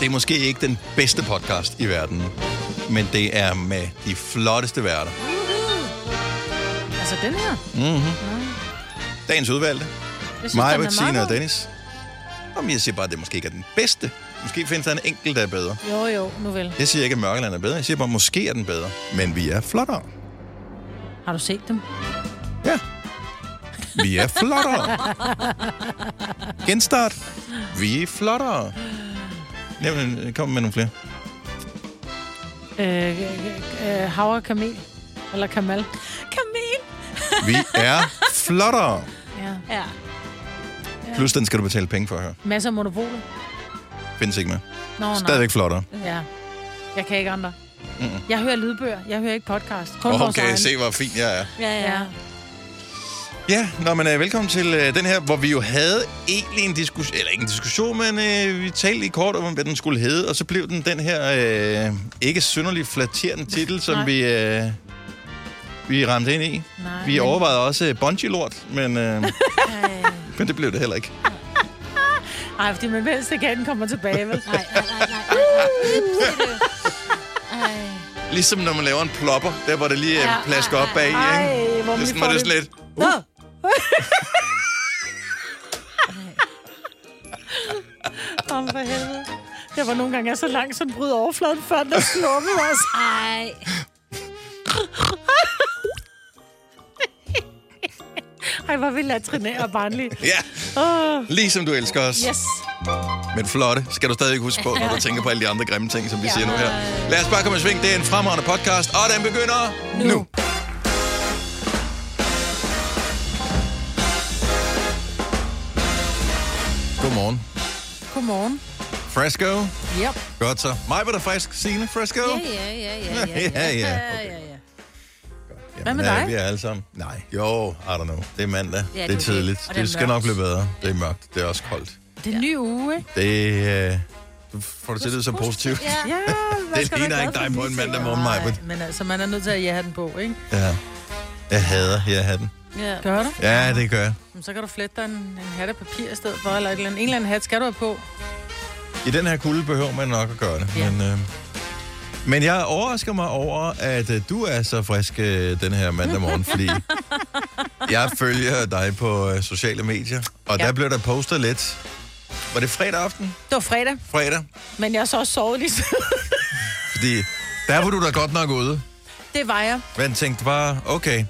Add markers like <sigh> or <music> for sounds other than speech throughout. det er måske ikke den bedste podcast i verden, men det er med de flotteste værter. Altså den her. Mm-hmm. Dagens udvalgte. Jeg synes, Mig, den er meget Bettina og god. Dennis. Om jeg siger bare, at det måske ikke er den bedste. Måske findes der en enkelt, der er bedre. Jo, jo, nu vel. Jeg siger ikke, at Mørkeland er bedre. Jeg siger bare, at måske er den bedre. Men vi er flottere. Har du set dem? Vi er flottere. Genstart. Vi er flottere. Jamen, kom med nogle flere. Øh, øh, øh, Havre Kamel. Eller Kamal. Kamel! Vi er flottere. Ja. ja. Plus den skal du betale penge for her. Masser af monopoler. Findes ikke med. Nå, nej. Stadigvæk flottere. Ja. Jeg kan ikke andre. Mm-mm. Jeg hører lydbøger. Jeg hører ikke podcast. Kun vores Okay, egen. se hvor fin jeg er. Ja, ja. Ja, nå, men øh, velkommen til øh, den her, hvor vi jo havde egentlig en diskussion, eller ikke en diskussion, men øh, vi talte i kort om, hvad den skulle hedde, og så blev den den her øh, ikke synderlig flatterende titel, Nej. som vi, øh, vi ramte ind i. Nej. Vi overvejede også øh, bungee-lort, men, <laughs> øh, men det blev det heller ikke. Ej, fordi man helst ikke at den kommer tilbage, vel? Nej, Ligesom når man laver en plopper, der hvor det lige øh, Ja, plasker op bag i, Ej, ikke? hvor man Det er lige sådan, får var det lidt- sådan lidt, Nå! Om for helvede. Det var nogle gange jeg er så langt, som bryder overfladen, før den er slukket os. Ej. Ej, hvor vil jeg trinere og barnlig. ja, Åh, ligesom du elsker os. yes. Men flotte skal du stadig huske på, når du tænker på alle de andre grimme ting, som vi siger nu her. Lad os bare komme i sving. Det er en fremragende podcast, og den begynder nu. nu. Godmorgen. Godmorgen. Fresco. Yep. Godt så. Mig var der frisk. Signe Fresco. Ja, ja, ja, ja, ja. ja, ja. ja, ja. Hvad med Jamen, øh, dig? Vi er alle sammen. Nej. Jo, I don't know. Det er mandag. Ja, det det er er tidligt. det. Det, Og det er det mørkt. skal nok blive bedre. Det er mørkt. Det er også koldt. Det er en ny uge, ikke? Det øh, du får det til at lyde så positivt. Ja. Ja, man Det skal være ligner glad ikke for dig på de en ting. mandag morgen, Maja. Nej, Men altså, man er nødt til at have den på, ikke? Ja. Jeg hader, jeg hader den. ja. Gør du? Ja, det gør jeg. Jamen, Så kan du flette dig en, en hat af papir i stedet for, eller et eller andet. En eller anden hat skal du have på. I den her kulde behøver man nok at gøre det. Ja. Ja. Men, øh, men jeg overrasker mig over, at øh, du er så frisk øh, den her mandag morgen, <laughs> fordi jeg følger dig på øh, sociale medier, og ja. Ja. der blev der postet lidt. Var det fredag aften? Det var fredag, Fredag? men jeg har så også sovet lige siden. Fordi der var du da godt nok ude. <laughs> Det var jeg. Men tænkte bare, okay.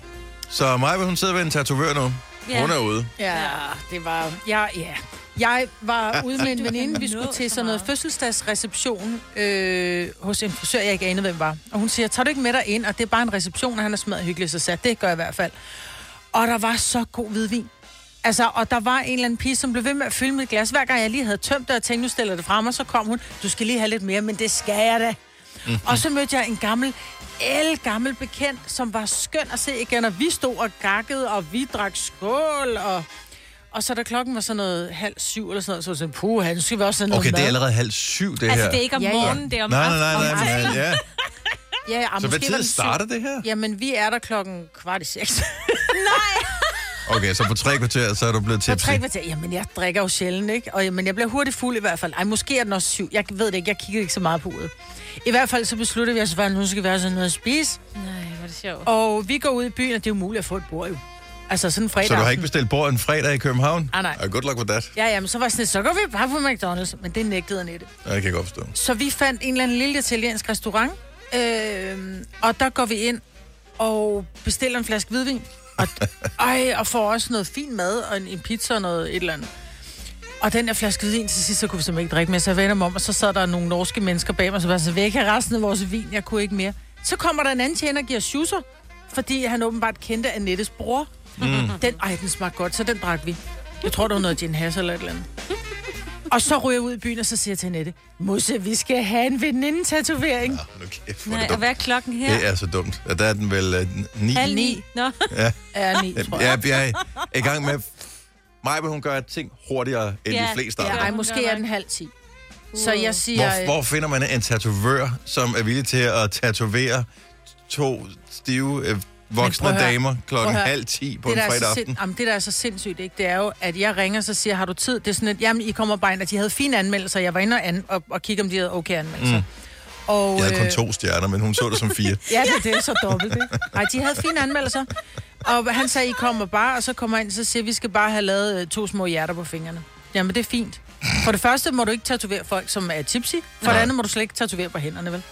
Så Maja, hun sidder ved en tatovør nu. Ja. Ja. Hun er ude. Ja, det var... Ja, ja. Jeg var ude <laughs> med en veninde, vi skulle nå til så sådan noget meget. fødselsdagsreception øh, hos en frisør, jeg ikke anede, hvem var. Og hun siger, tager du ikke med dig ind? Og det er bare en reception, og han er smadret hyggelig, så sat. Det gør jeg i hvert fald. Og der var så god hvidvin. Altså, og der var en eller anden pige, som blev ved med at fylde mit glas. Hver gang jeg lige havde tømt det, og tænkte, nu stiller jeg det frem, og så kom hun, du skal lige have lidt mere, men det skal jeg da. Mhm. Og så mødte jeg en gammel, gammel bekendt, som var skøn at se igen, og vi stod og gakkede, og vi drak skål, og... Og så da klokken var sådan noget halv syv eller sådan noget, så var jeg sådan, puh, han skal vi også have noget Okay, det er mad?" allerede halv syv, det Altså, her. det er ikke om Ja, ja. morgenen, det er om nej, nej, aftenen. nej, nej, nej, ja. Ja, ja, Så måske hvad var tid den syv. starter det her? Jamen, vi er der klokken kvart i seks. <laughs> Okay, så på tre kvarter, så er du blevet Så tipsy. tre kvarter. Jamen, jeg drikker jo sjældent, ikke? Og jamen, jeg bliver hurtigt fuld i hvert fald. Ej, måske er den også syv. Jeg ved det ikke. Jeg kiggede ikke så meget på uret. I hvert fald så besluttede vi os, for, at nu skal vi have sådan noget at spise. Nej, hvor er det sjovt. Og vi går ud i byen, og det er umuligt at få et bord jo. Altså sådan en fredag. Så du har ikke aften. bestilt bord en fredag i København? Ah, nej. Ah, Good luck with that. Ja, jamen, så var jeg sådan, lidt, så går vi bare på McDonald's. Men det nægtede Annette. Ja, det kan jeg godt forstå. Ah, Så vi fandt en eller anden lille italiensk restaurant, øh, og der går vi ind og bestiller en flaske hvidvin. Og, ej, og får også noget fin mad og en, en pizza og noget et eller andet. Og den der flaske hvidvin til sidst, så kunne vi simpelthen ikke drikke mere, så jeg vendte mig om, og så sad der nogle norske mennesker bag mig, så var så væk af resten af vores vin, jeg kunne ikke mere. Så kommer der en anden tjener og giver schusser, fordi han åbenbart kendte Annettes bror. Mm. Den, ej, den smagte godt, så den drak vi. Jeg tror, det var noget gin hass eller et eller andet. Og så ryger jeg ud i byen, og så siger jeg til Annette, Musse, vi skal have en veninde-tatovering. Ja. Ah, nu kæft, hvor Nej, er det og dumt. hvad er klokken her? Det er så dumt. Ja, der er den vel uh, ni. Halv ni. <laughs> Nå. Er ni, tror jeg. Ja, jeg er i gang med... Maja, hun gør ting hurtigere end Ja, de fleste ja. andre. Ej, måske er den halv ti. Så jeg siger... Hvor, hvor finder man en tatovør, som er villig til at tatovere to stive øh, voksne Men prøv at høre. damer Prøv klokken at høre. halv ti på det, en der er fredag så aften. sind, jamen, det, der er så sindssygt, ikke? det er jo, at jeg ringer, så siger, har du tid? Det er sådan, at jamen, I kommer bare ind, og de havde fine anmeldelser. Jeg var inde og, an, og, og kigge, om de havde okay anmeldelser. Mm. Og, Jeg havde kun øh, to stjerner, men hun så det som <laughs> fire. Ja, det, det er så dobbelt, ikke? Nej, de havde fine anmeldelser. Og han sagde, I kommer bare, og så kommer jeg ind, så siger vi skal bare have lavet øh, to små hjerter på fingrene. Jamen, det er fint. For det første må du ikke tatovere folk, som er tipsy. For det Nej. andet må du slet ikke tatovere på hænderne, vel?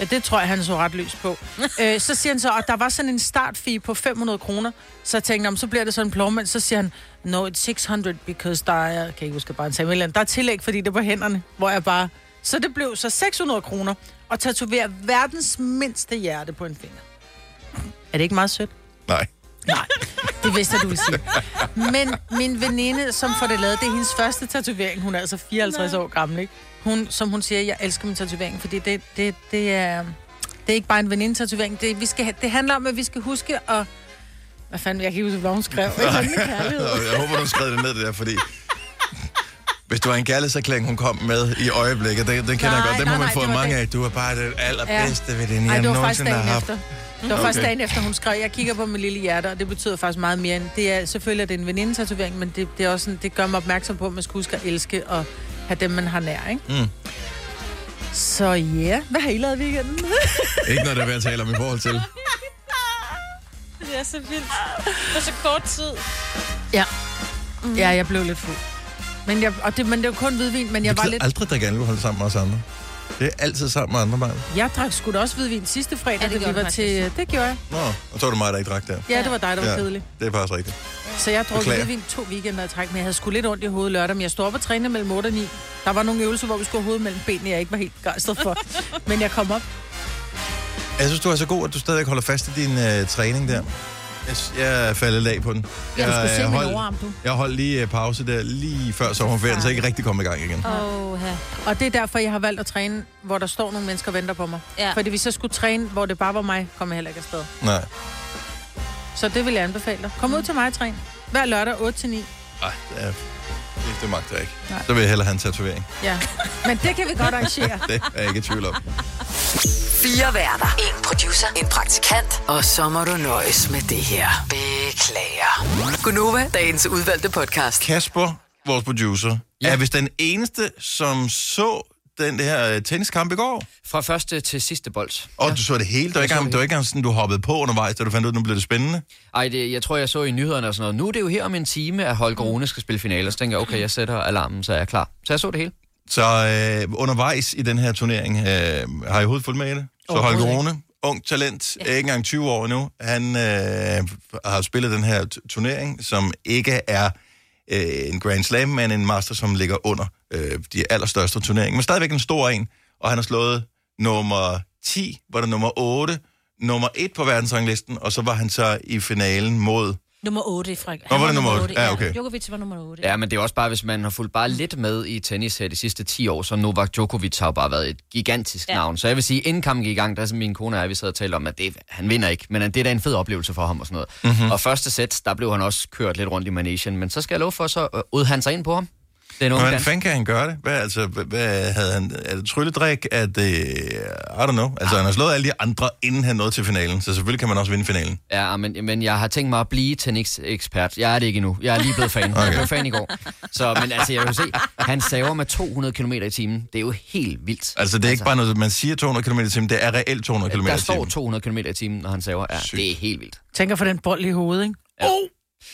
Ja, det tror jeg, han så ret løs på. øh, så siger han så, at der var sådan en startfee på 500 kroner. Så jeg tænkte jeg, "Nå, men så bliver det sådan en plovmand. Så siger han, no, it's 600, because der er, kan jeg ikke huske, bare en eller andet. Der er tillæg, fordi det er på hænderne, hvor jeg bare... Så det blev så 600 kroner at tatovere verdens mindste hjerte på en finger. Er det ikke meget sødt? Nej. Nej, det vidste jeg, du ville sige. Men min veninde, som får det lavet, det er hendes første tatovering. Hun er altså 54 år gammel, ikke? Hun, som hun siger, jeg elsker min tatovering, fordi det, det, det er... Det er ikke bare en veninde-tatovering. Det, vi skal, ha- det handler om, at vi skal huske at... Hvad fanden, jeg kan ikke huske, hvad hun skrev. Ikke? Hun er kærlighed. Og Jeg håber, du skrev det ned, det der, fordi... Hvis det var en kærlighedserklæring, hun kom med i øjeblikket, den, den kender jeg Nej, godt. Dem nej, har man nej, fået det var mange den. af. Du er bare den allerbedste ja. veninde, Ej, jeg det var faktisk nogensinde har dagen haft. efter. Det var Okay. okay. faktisk dagen efter, hun skrev, jeg kigger på mit lille hjerte, og det betyder faktisk meget mere end... Det er selvfølgelig, at det er en venindetatovering, men det, det, er også sådan, det gør mig opmærksom på, at man skal huske at elske og have dem, man har nær, ikke? Mm. Så ja, hvad har I lavet <laughs> i weekenden? Ikke noget, der er værd at tale om i forhold til. Det er så vildt. På så kort tid. ja. Mm. ja, jeg blev lidt fuld. Men, jeg, og det, men det var kun hvidvin, men jeg Jeg var kan lidt... aldrig drikke alkohol sammen med os andre. Det er altid sammen med andre mand. Jeg drak sgu da også hvidvin sidste fredag, Ja, ja, det det da gjorde vi var du til... faktisk. Det gjorde jeg. Nå, og så var det mig, der ikke drak der. Ja, det var dig, der var ja. kedelig. det er faktisk rigtigt. Så jeg drog Beklager. hvidvin to weekender i træk, men jeg havde sgu lidt ondt i hovedet lørdag, men jeg stod op og trænede mellem 8 og 9. Der var nogle øvelser, hvor vi skulle have hovedet mellem benene, jeg ikke var helt begejstret for. men jeg kom op. Jeg synes, du er så god, at du stadig holder fast i din øh, træning der. Jeg, s- jeg er faldet lag på den. Jeg skulle se min holdt- overarm, du. Jeg holdt lige øh, pause der, lige før sommerferien, så jeg ikke rigtig kom i gang igen. Åh, ja. Og det er derfor, jeg har valgt at træne, hvor der står nogle mennesker og venter på mig. Ja. Fordi hvis jeg skulle træne, hvor det bare var mig, kom jeg heller ikke afsted. Nej. Så det vil jeg anbefale dig. Kom ud til mig og træn. Hver lørdag 8-9. Nej, det, er, det magter jeg ikke. Nej. Så vil jeg hellere have en tatovering. Ja. Men det kan vi godt <laughs> arrangere. Det er jeg ikke i tvivl <laughs> om. Fire værter. En producer. En praktikant. Og så må du nøjes med det her. Beklager. Gunova, dagens udvalgte podcast. Kasper, vores producer, ja. er vist den eneste, som så den her øh, tenniskamp i går. Fra første til sidste bold. Og ja. du så det hele. Det var ikke, engang- det var ikke engang sådan, du hoppede på undervejs, da du fandt ud, at nu blev det spændende. Ej, det, jeg tror, jeg så i nyhederne og sådan noget. Nu er det jo her om en time, at Holger Rune skal spille finaler. Så tænker jeg, okay, jeg sætter alarmen, så er jeg klar. Så jeg så det hele. Så øh, undervejs i den her turnering, øh, har I overhovedet fulgt med i det? Så Holger Rune, ung talent, ja. ikke engang 20 år nu, han øh, har spillet den her t- turnering, som ikke er øh, en Grand Slam, men en master, som ligger under øh, de allerstørste turneringer. Men stadigvæk en stor en, og han har slået nummer 10, var det nummer 8, nummer 1 på verdensranglisten, og så var han så i finalen mod... Nummer 8 i Frank. var det nummer otte? Ja, okay. Djokovic var nummer 8. Ja, men det er også bare, hvis man har fulgt bare lidt med i tennis her de sidste 10 år, så Novak Djokovic har jo bare været et gigantisk ja. Ja. navn. Så jeg vil sige, inden kampen gik i gang, der er sådan min kone og jeg, vi sad og talte om, at det, han vinder ikke, men det er da en fed oplevelse for ham og sådan noget. Mm-hmm. Og første sæt, der blev han også kørt lidt rundt i managen, men så skal jeg love for, så øh, ød han sig ind på ham. Den unge Hvordan dansker. fanden kan han gøre det? Hvad, altså, hvad- hvad havde han? Er det trylledrik? Er det... I don't know. Altså, han har slået alle de andre, inden han nåede til finalen. Så selvfølgelig kan man også vinde finalen. Ja, men, men jeg har tænkt mig at blive tennis-ekspert. Jeg er det ikke endnu. Jeg er lige blevet fan. Okay. Jeg blev fan i går. Så, men altså, jeg vil se, han saver med 200 km i timen. Det er jo helt vildt. Altså, det er ikke bare noget, man siger 200 km i timen. Det er reelt 200 km i Der står timen. 200 km i timen, når han saver. Ja, Sygt. det er helt vildt. Tænker for den bold i hovedet, ikke?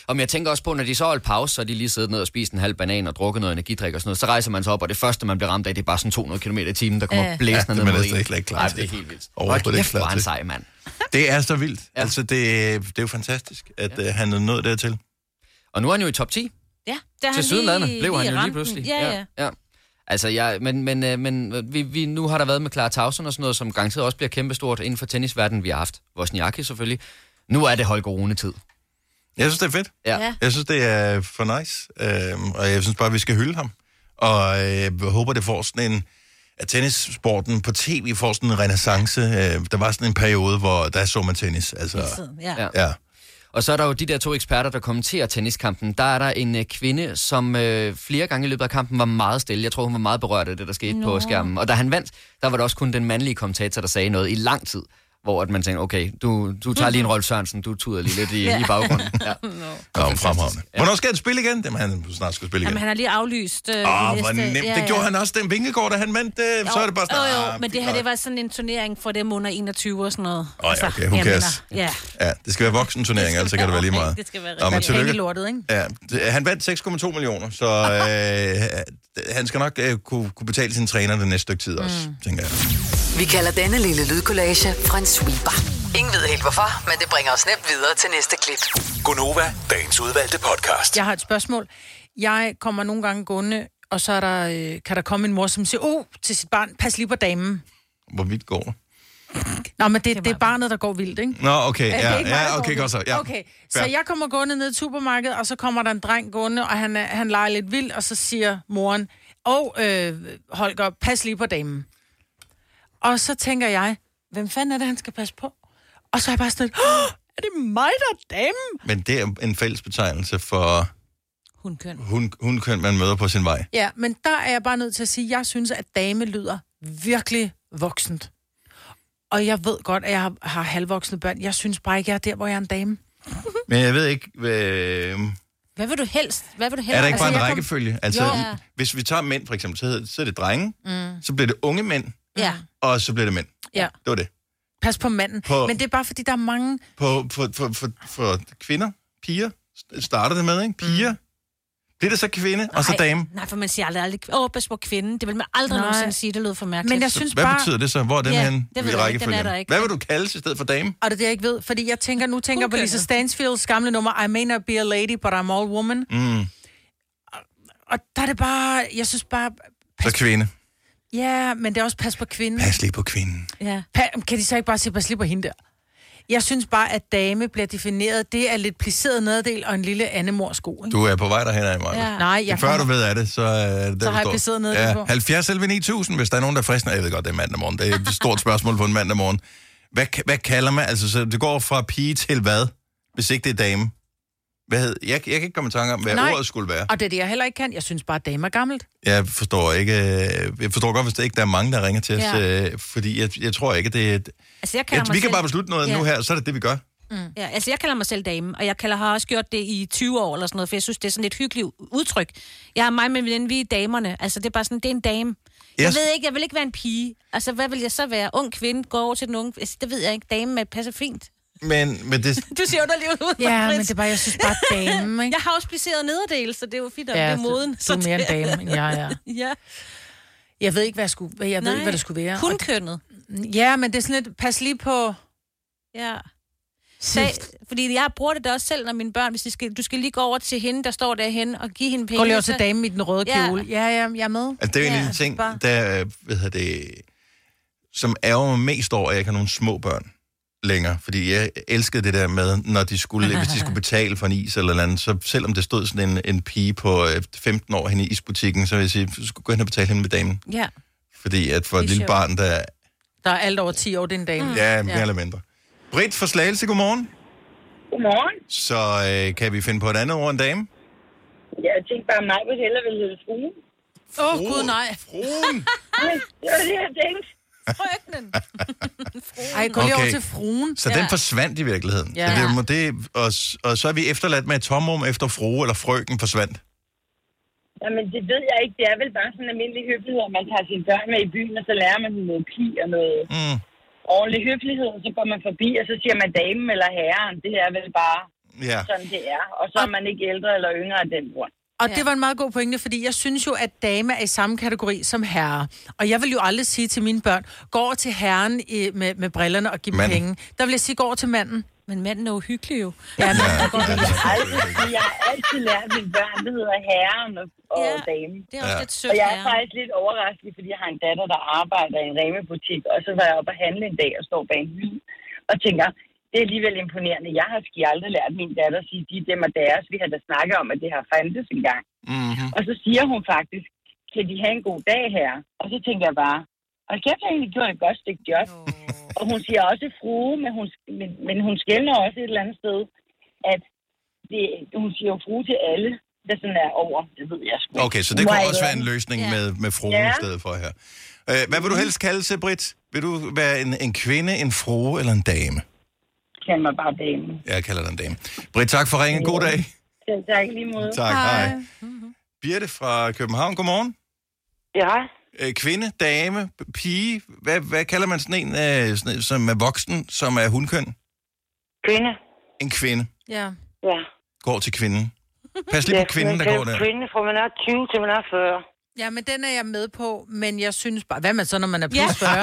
Og men jeg tænker også på, når de så holdt pause, så er de lige siddet ned og spist en halv banan og drukket noget energidrik og sådan noget. Så rejser man sig op, og det første, man bliver ramt af, det er bare sådan 200 km i timen, der kommer Ja. blæsende Ja, det er ned man mod næsten en. ikke slet ikke klar Ej, til. det er helt vildt. Overhovedet Hold ikke kæft, hvor klar er han til. sej, mand. Det er så vildt. Altså, det, det er jo fantastisk, at ja. han er nået dertil. Og nu er han jo i top 10. Ja, der Til sydlandet blev han jo lige ramte den. pludselig. Ja, ja. ja. ja. Altså, jeg, men, men, øh, men øh, vi, vi, nu har der været med Clara Tausen og sådan noget, som garanteret også bliver kæmpestort inden for tennisverdenen, vi har haft. Vosniaki selvfølgelig. Nu er det Holger Rune-tid. Jeg synes, det er fedt. Ja. Ja. ja. Jeg synes, det er for nice, øhm, og jeg synes bare, vi skal hylde ham. Og øh, jeg håber, det får sådan en... At tennissporten på tv får sådan en renaissance. Øh, der var sådan en periode, hvor der så man tennis. Altså, ja. Ja. ja. ja. Og så er der jo de der to eksperter, der kommenterer tenniskampen. Der er der en øh, kvinde, som øh, flere gange i løbet af kampen var meget stille. Jeg tror, hun var meget berørt af det, der skete Nå. på skærmen. Og da han vandt, der var der også kun den mandlige kommentator, der sagde noget i lang tid. hvor at man tænker, okay, du, du tager lige en Rolf Sørensen, du tuder lige lidt i, Mhm. <laughs> ja. i baggrunden. Ja. Nå, fremragende. Hvornår skal han spille igen? Det må han snart skulle spille igen. Jamen, han har lige aflyst øh, Åh, det hvor næste- nemt. Det gjorde han også, den Vingegaard, da han vandt. Øh, så er det bare sådan, Jo, jo, ah, men det her, det var sådan en turnering for dem under 21 og sådan noget. Altså, Åh, ja, okay, who jeg cares? mener, Ja. Ja, det skal være voksenturnering, ellers så kan det være lige meget. Det skal være Nå, men rigtig- tillykke. Penge lortet, ikke? Ja, det- han vandt 6,2 millioner, så øh, <laughs> han skal nok øh, kunne, kunne betale sin træner det næste stykke tid også, mm. tænker jeg. Vi kalder denne lille lydkollage Frans sweeper. Ingen ved helt hvorfor, men det bringer os nemt videre til næste klip. Gunova, dagens udvalgte podcast. Jeg har et spørgsmål. Jeg kommer nogle gange gående, og så er der, øh, kan der komme en mor, som siger, oh, til sit barn, pas lige på damen. Hvor vidt går det? Nå, men det, det er barnet, der går vildt, ikke? Nå, okay, Er det ja, ikke meget ja, okay, dårligt? godt så. Ja. Okay, så Fair. jeg kommer gående ned i supermarkedet, og så kommer der en dreng gående, og han, er- han leger lidt vildt, og så siger moren, og oh, øh, Holger, pas lige på damen. Og så tænker jeg, hvem fanden er det, han skal passe på? Og så er jeg bare sådan, oh, er det mig, der er damen? Men det er en fælles betegnelse for Hun køn. hun, hundkøn, man møder på sin vej. Ja, men der er jeg bare nødt til at sige, at jeg synes, at dame lyder virkelig voksent. Og jeg ved godt, at jeg har, har halvvoksne børn. Jeg synes bare ikke, jeg er der, hvor jeg er en dame. Men jeg ved ikke, øh, Hvad vil du helst? Hvad vil du helst? er der ikke bare en jeg kom- rækkefølge? Altså, Jo. jo. hvis vi tager mænd for eksempel, så, hedder, så er det drenge, mm. så bliver det unge mænd, Ja. og så bliver det mænd. Ja. Det var det. Pas på manden. På- På... Men det er bare, fordi der er mange... På, for, for, for, for kvinder, piger, st- starter det med, ikke? Piger. Mm. Bliver det så kvinde, og så Nej, dame? Nej, for man siger aldrig, aldrig åh, pas på kvinden. Det vil man aldrig Nej. nogensinde sige, det lød for mærkeligt. Men jeg synes Hvad bare... betyder det så? Hvor er den Ja, henne? det ved jeg ikke. i Den er rækkefølgen? der ikke. Hvad vil du kaldes i stedet for dame? Og det er det, jeg ikke ved. Fordi jeg tænker, nu tænker jeg på Hun Lisa kønnet. Stansfields gamle nummer, I may not be a lady, but I'm all woman. Mm. Og der er det bare... Jeg synes bare... Så Pas, kvinde. ja, men det er også pas på kvinden. Pas lige på kvinden. Ja. Pa- kan de så ikke bare sige, pas lige på hende der? Jeg synes bare, at dame bliver defineret. Det er lidt placeret nederdel og en lille andemorsko, ikke? Du er på vej derhen af mig. Ja. Nej, Jeg jeg Før kommer... du ved af det, så er det Så har jeg placeret nede ja, på. 70 11 9000, hvis der er nogen, der er fristende. Jeg ved godt, det er mandag morgen. Det er et stort spørgsmål på en mandag morgen. Hvad, ka- hvad kalder man? Altså, så det går fra pige til hvad, hvis ikke det er dame? Hvad hed? Jeg, jeg kan ikke komme i tanke om, hvad Nej. Nej. ordet skulle være. Og det er det, jeg heller ikke kan. Jeg synes bare, at dame er gammelt. Jeg forstår ikke. øh, Jeg forstår godt, hvis der ikke der er mange, der ringer til os. Ja. Ja. Fordi jeg, jeg tror ikke, det er... Altså, jeg kalder Jeg, mig vi kan selv... bare beslutte noget Ja. nu her, så er det det, vi gør. Ja, altså jeg kalder mig selv dame, og jeg kalder, har også gjort det i 20 år eller sådan noget, for jeg synes, det er sådan et hyggeligt udtryk. Jeg og mig og min veninde, vi er damerne. Altså det er bare sådan, det er en dame. Jeg Yes. ved ikke, jeg vil ikke være en pige. Altså hvad vil jeg så være? Ung kvinde, går over til den unge... Altså, det ved jeg ikke. Dame med passer fint. <laughs> Men, men det, Du ser underlivet ud, Ja, men Britt. det er bare, jeg synes bare, <laughs> dame, ikke? Jeg har også placeret nederdel, så det er jo fint, at ja, Ja, det er du- moden. Du Så er <laughs> mere en dame, end jeg er. Ja. Jeg ved ikke, hvad, jeg skulle, hvad- jeg ved ikke, hvad det skulle være. Kun kønnet. Og- Ja, men det er sådan lidt, pas lige på... Ja. Sag, fordi jeg bruger det da også selv, når mine børn, hvis de skal, du skal lige gå over til hende, der står derhen og give hende penge. Gå lige over så- til damen i den røde Ja. kjole. Ja, ja, jeg er med. Altså, det er jo en Ja, lille ting, bare- der, øh, hvad hedder det, som ærger mig mest over, at jeg ikke har nogen små børn længere. Fordi jeg elskede det der med, når de skulle, hvis de skulle betale for en is eller noget andet, så selvom det stod sådan en, en pige på øh, 15 år henne i isbutikken, så ville jeg sige, du skulle gå hen og betale hende med damen. Ja. Fordi at for et er lille sjovt. barn, der er Der er alt over 10 år, det er en dame. ja, mere eller mindre. Britt fra Slagelse, godmorgen. Godmorgen. Så øh, kan vi finde på et andet ord end dame? Jeg tænkte bare, at mig vil hellere ville hedde fruen. Åh, oh, gud nej. Fruen. <laughs> Det var det, jeg tænkte. Frøknen. Ej, gå lige Okay. over til fruen. Så ja. den forsvandt i virkeligheden. Ja. Ja. Så det, må det, og, s- og så er vi efterladt med et tomrum efter frue eller frøken forsvandt. Jamen, det ved jeg ikke. Det er vel bare sådan en almindelig høflighed, at man tager sine børn med i byen, og så lærer man dem noget pi og noget Mm. ordentlig høflighed, og så går man forbi, og så siger man damen eller herren. Det er vel bare Ja. sådan, det er. Og så er man ikke ældre eller yngre af den grund. Og det var en meget god pointe, fordi jeg synes jo, at dame er i samme kategori som herre. Og jeg vil jo aldrig sige til mine børn, gå over til herren i, med, med brillerne og giv dem Manden. penge. Der vil jeg sige, gå over til manden. Men manden er uhyggelig jo. Ja, men, Ja, Aldrig, fordi Altså, jeg har altid lært mine børn, det hedder herren og, og Ja. damen. Det er også Ja. ja. lidt sødt. Og jeg er ja. faktisk lidt overrasket, fordi jeg har en datter, der arbejder i en remebutik, og så var jeg oppe og handle en dag og står bag en hylde og tænker, det er alligevel imponerende. Jeg har sgu aldrig lært min datter at sige, de dem og deres. Vi har da snakket om, at det har fandtes engang. Mm-hmm. Og så siger hun faktisk, kan de have en god dag her? Og så tænker jeg bare, og kæft, jeg har egentlig gjort et godt stykke job. Og hun siger også frue, men hun, men, men hun skældner også et eller andet sted, at det, hun siger jo frue til alle, der sådan er over. Det ved jeg sgu. ikke. Okay, så det Hun kunne har også ikke være en løsning Ja. med, med fruen Ja. i stedet for her. Øh, hvad vil du helst kalde sig, Britt, Vil du være en, en kvinde, en frue eller en dame? Kan man bare dame. Jeg kalder dig en dame. Britt, tak for ringen. God dag. Selv tak i lige måde. Tak, Mm-hmm. hej. hej. Birte fra København, godmorgen. Ja, Øh, Kvinde, dame, pige. Hvad, hvad kalder man sådan en, øh, sådan en, som er voksen, som er hundkøn? kvinde. En kvinde. Ja. Ja. Går til kvinden. Pas lige ja, på kvinden, man der kan går jo der. Kvinde fra man er 20 til man er 40. Ja, men den er jeg med på, men jeg synes bare... Hvad man så, når man er plus 40? Ja.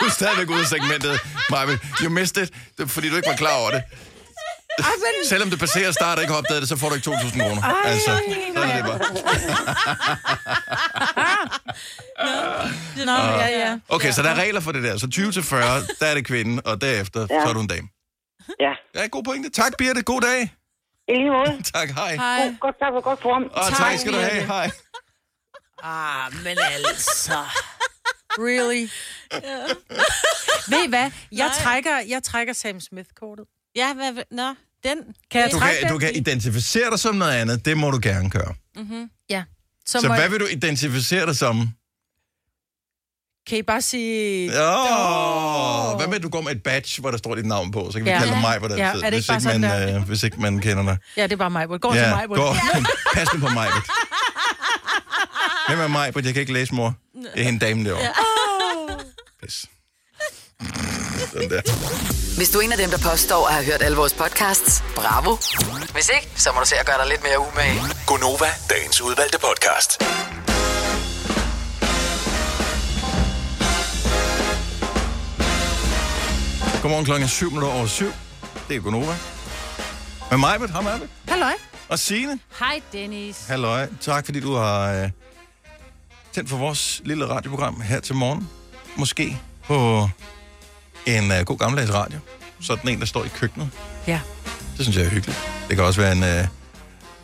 Du er stadigvæk ude af segmentet, Marvin. You missed it, Det er, fordi du ikke var klar over det. altså, Selvom det passerer start og ikke har opdaget det, så får du ikke 2.000 kroner. Altså, sådan er det bare. Nå, ja, ja. Okay, så der er regler for det der. Så 20 til 40, der er det kvinden, og derefter, ja. så er du en dame. Ja. Ja, god pointe. Tak, Birte. God dag. I lige måde. Tak, hej. Hej. God, godt tak for godt form. Og tak, tak skal du have. Hej. Ah, men altså. Really? Ved I hvad? Jeg trækker, jeg trækker Sam Smith-kortet. Ja, hvad... vil- Nå, den... Kan jeg Du trække kan, du kan identificere dig som noget andet. Det må du gerne gøre. Ja. Så må hvad jeg- vil du identificere dig som? Kan I bare sige... Åh, hvad med, at du går med et badge, hvor der står dit navn på? Så kan vi Ja. kalde dig mig, hvor der Ja, er det ikke hvis, bare ikke sådan man, der? øh, hvis ikke man kender dig. Ja, det er bare mig. Gå ja, til mig. Gå. Pas nu på mig. Hvem er mig? Jeg kan ikke læse, mor. Det er hende damen derovre. Ja. Pis. Sådan der. Hvis du er en af dem, der påstår at have hørt alle vores podcasts, bravo. Hvis ikke, så må du se at gøre dig lidt mere umage. Gonova, dagens udvalgte podcast. Godmorgen klokken er syv minutter over syv. Det er Gunova. Med mig, Britt. Hej, Majbet. Halløj. Og Signe. Hej, Dennis. Halløj. Tak, fordi du har øh, tændt for vores lille radioprogram her til morgen. Måske på en øh, god gammeldags radio. Sådan en, der står i køkkenet. Ja. Det synes jeg er hyggeligt. Det kan også være en, øh,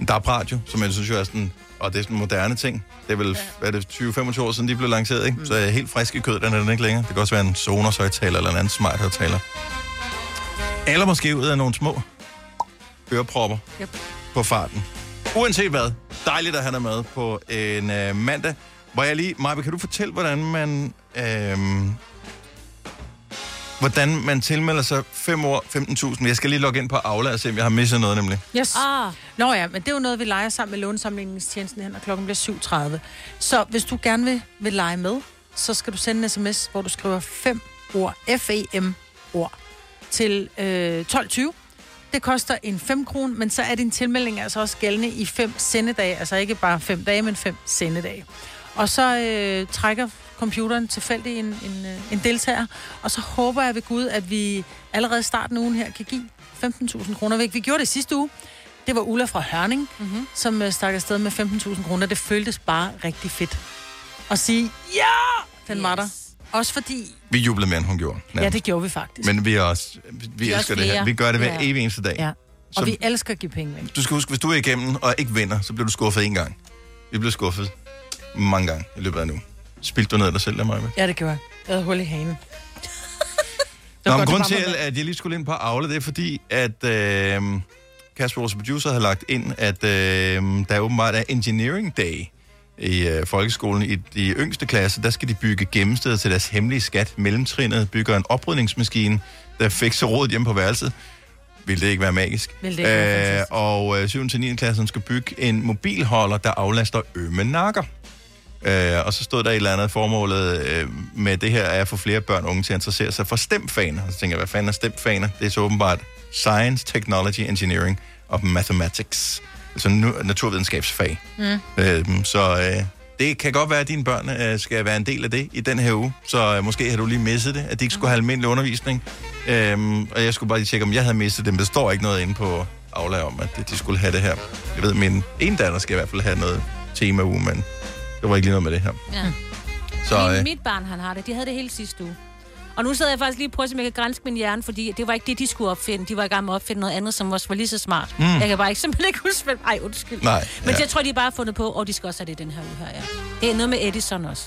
en DAB-radio, som jeg synes jo er sådan... Og det er sådan en moderne ting. Det er vel hvad er det, 20-25 år siden, de blev lanceret, ikke? Mm. Så jeg er helt frisk i kødet, den er den ikke længere. Det kan også være en Sonos højtaler eller en anden smart højtaler. Eller måske ud af nogle små ørepropper Yep. på farten. Uanset hvad, dejligt at have dig med på en øh, mandag. Hvor jeg lige... Maja, kan du fortælle, hvordan man... Øh, hvordan man tilmelder sig 5 år 15.000. Jeg skal lige logge ind på Aula og se, om jeg har misset noget nemlig. Yes. Ah, Nå ja, men det er jo noget, vi leger sammen med lånesamlingstjenesten hen, og klokken bliver 7.30. Så hvis du gerne vil, vil lege med, så skal du sende en sms, hvor du skriver fem ord, F-E-M-ord, til øh, 12.20. Det koster en 5 kron, men så er din tilmelding altså også gældende i 5 sendedage. Altså ikke bare 5 dage, men 5 sendedage. Og så øh, trækker computeren tilfældig en, en, øh, en deltager, og så håber jeg ved Gud, at vi allerede i starten af ugen her kan give 15.000 kroner væk. Vi gjorde det sidste uge. Det var Ulla fra Hørning, mm-hmm. som øh, stak afsted med 15.000 kroner. Det føltes bare rigtig fedt at sige, ja, den yes. var der. Også fordi, Vi jublede mere, end hun gjorde. ja, det gjorde vi faktisk. Men vi er også, vi, vi elsker også det her. flere. Vi gør det hver Ja. evig eneste dag. ja. Og Som- vi elsker at give penge væk. Du skal huske, hvis du er igennem og ikke vinder, så bliver du skuffet en gang. Vi blev skuffet mange gange i løbet af nu. Spildte du ned af dig selv, Maja? Ja, det gjorde jeg. Jeg havde hul i <laughs> hanen. Nå, men godt, grunden det var til, at jeg lige skulle ind på Aula, det er fordi, at øh, Kasper, vores producer, har lagt ind, at øh, der åbenbart er Engineering Day i øh, folkeskolen. I de yngste klasser, der skal de bygge gemmesteder til deres hemmelige skat. Mellemtrinnet bygger en oprydningsmaskine, der fikser rådet hjemme på værelset. Vil det ikke være magisk? Ville det ikke være fantastisk? og øh, 7. til 9. klassen skal bygge en mobilholder, der aflaster ømme nakker. Øh, og så stod der et eller andet formålet øh, med det her, er at få flere børn og unge til at interessere sig for stemfaner. Og så tænker jeg, hvad fanden er stemfaner? Det er så åbenbart Science, Technology, Engineering og Mathematics. Altså nu, naturvidenskabsfag. Mm. Øh, så øh, det kan godt være, at dine børn øh, skal være en del af det i den her uge. Så øh, måske har du lige misset det, at de ikke skulle have almindelig undervisning. Øh, og jeg skulle bare lige tjekke, om jeg havde mistet det, men der står ikke noget inde på Aula om, at de skulle have det her. Jeg ved, min ene datter skal i hvert fald have noget tema uge, men det var ikke lige noget med det her. ja. Så Min, øh, mit barn, han har det. De havde det hele sidste uge. Og nu sidder jeg faktisk lige og prøver, om jeg kan grænse min hjerne, fordi det var ikke det, de skulle opfinde. De var i gang med at opfinde noget andet, som også var lige så smart. Mm. Jeg kan bare ikke <laughs> simpelthen ikke huske, hvem... Ej, undskyld. Nej, Men ja. jeg tror, de bare har fundet på, og oh, de skal også have det i den her uge her, ja. Det er noget med Edison også.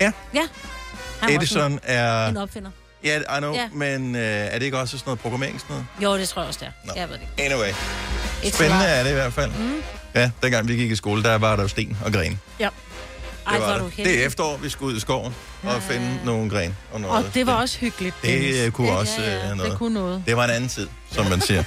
Ja. Ja. Han var også Edison en, en er... opfinder. Ja, I know, Ja. men øh, er det ikke også sådan noget programmering? Sådan noget? Jo, det tror jeg også, det er. Nå. Jeg ved det ikke. Anyway, It's spændende live. er det i hvert fald. Mm. Ja, dengang vi gik i skole, der var der jo sten og gren. Ja. Ej, Det, hvor var er du det. heldig. det er efterår, vi skal ud i skoven og finde nogle gren og noget. Og det var også hyggeligt. Det øh, kunne Ja, også ja, ja. øh, Det noget. kunne noget. Det var en anden tid, som man siger.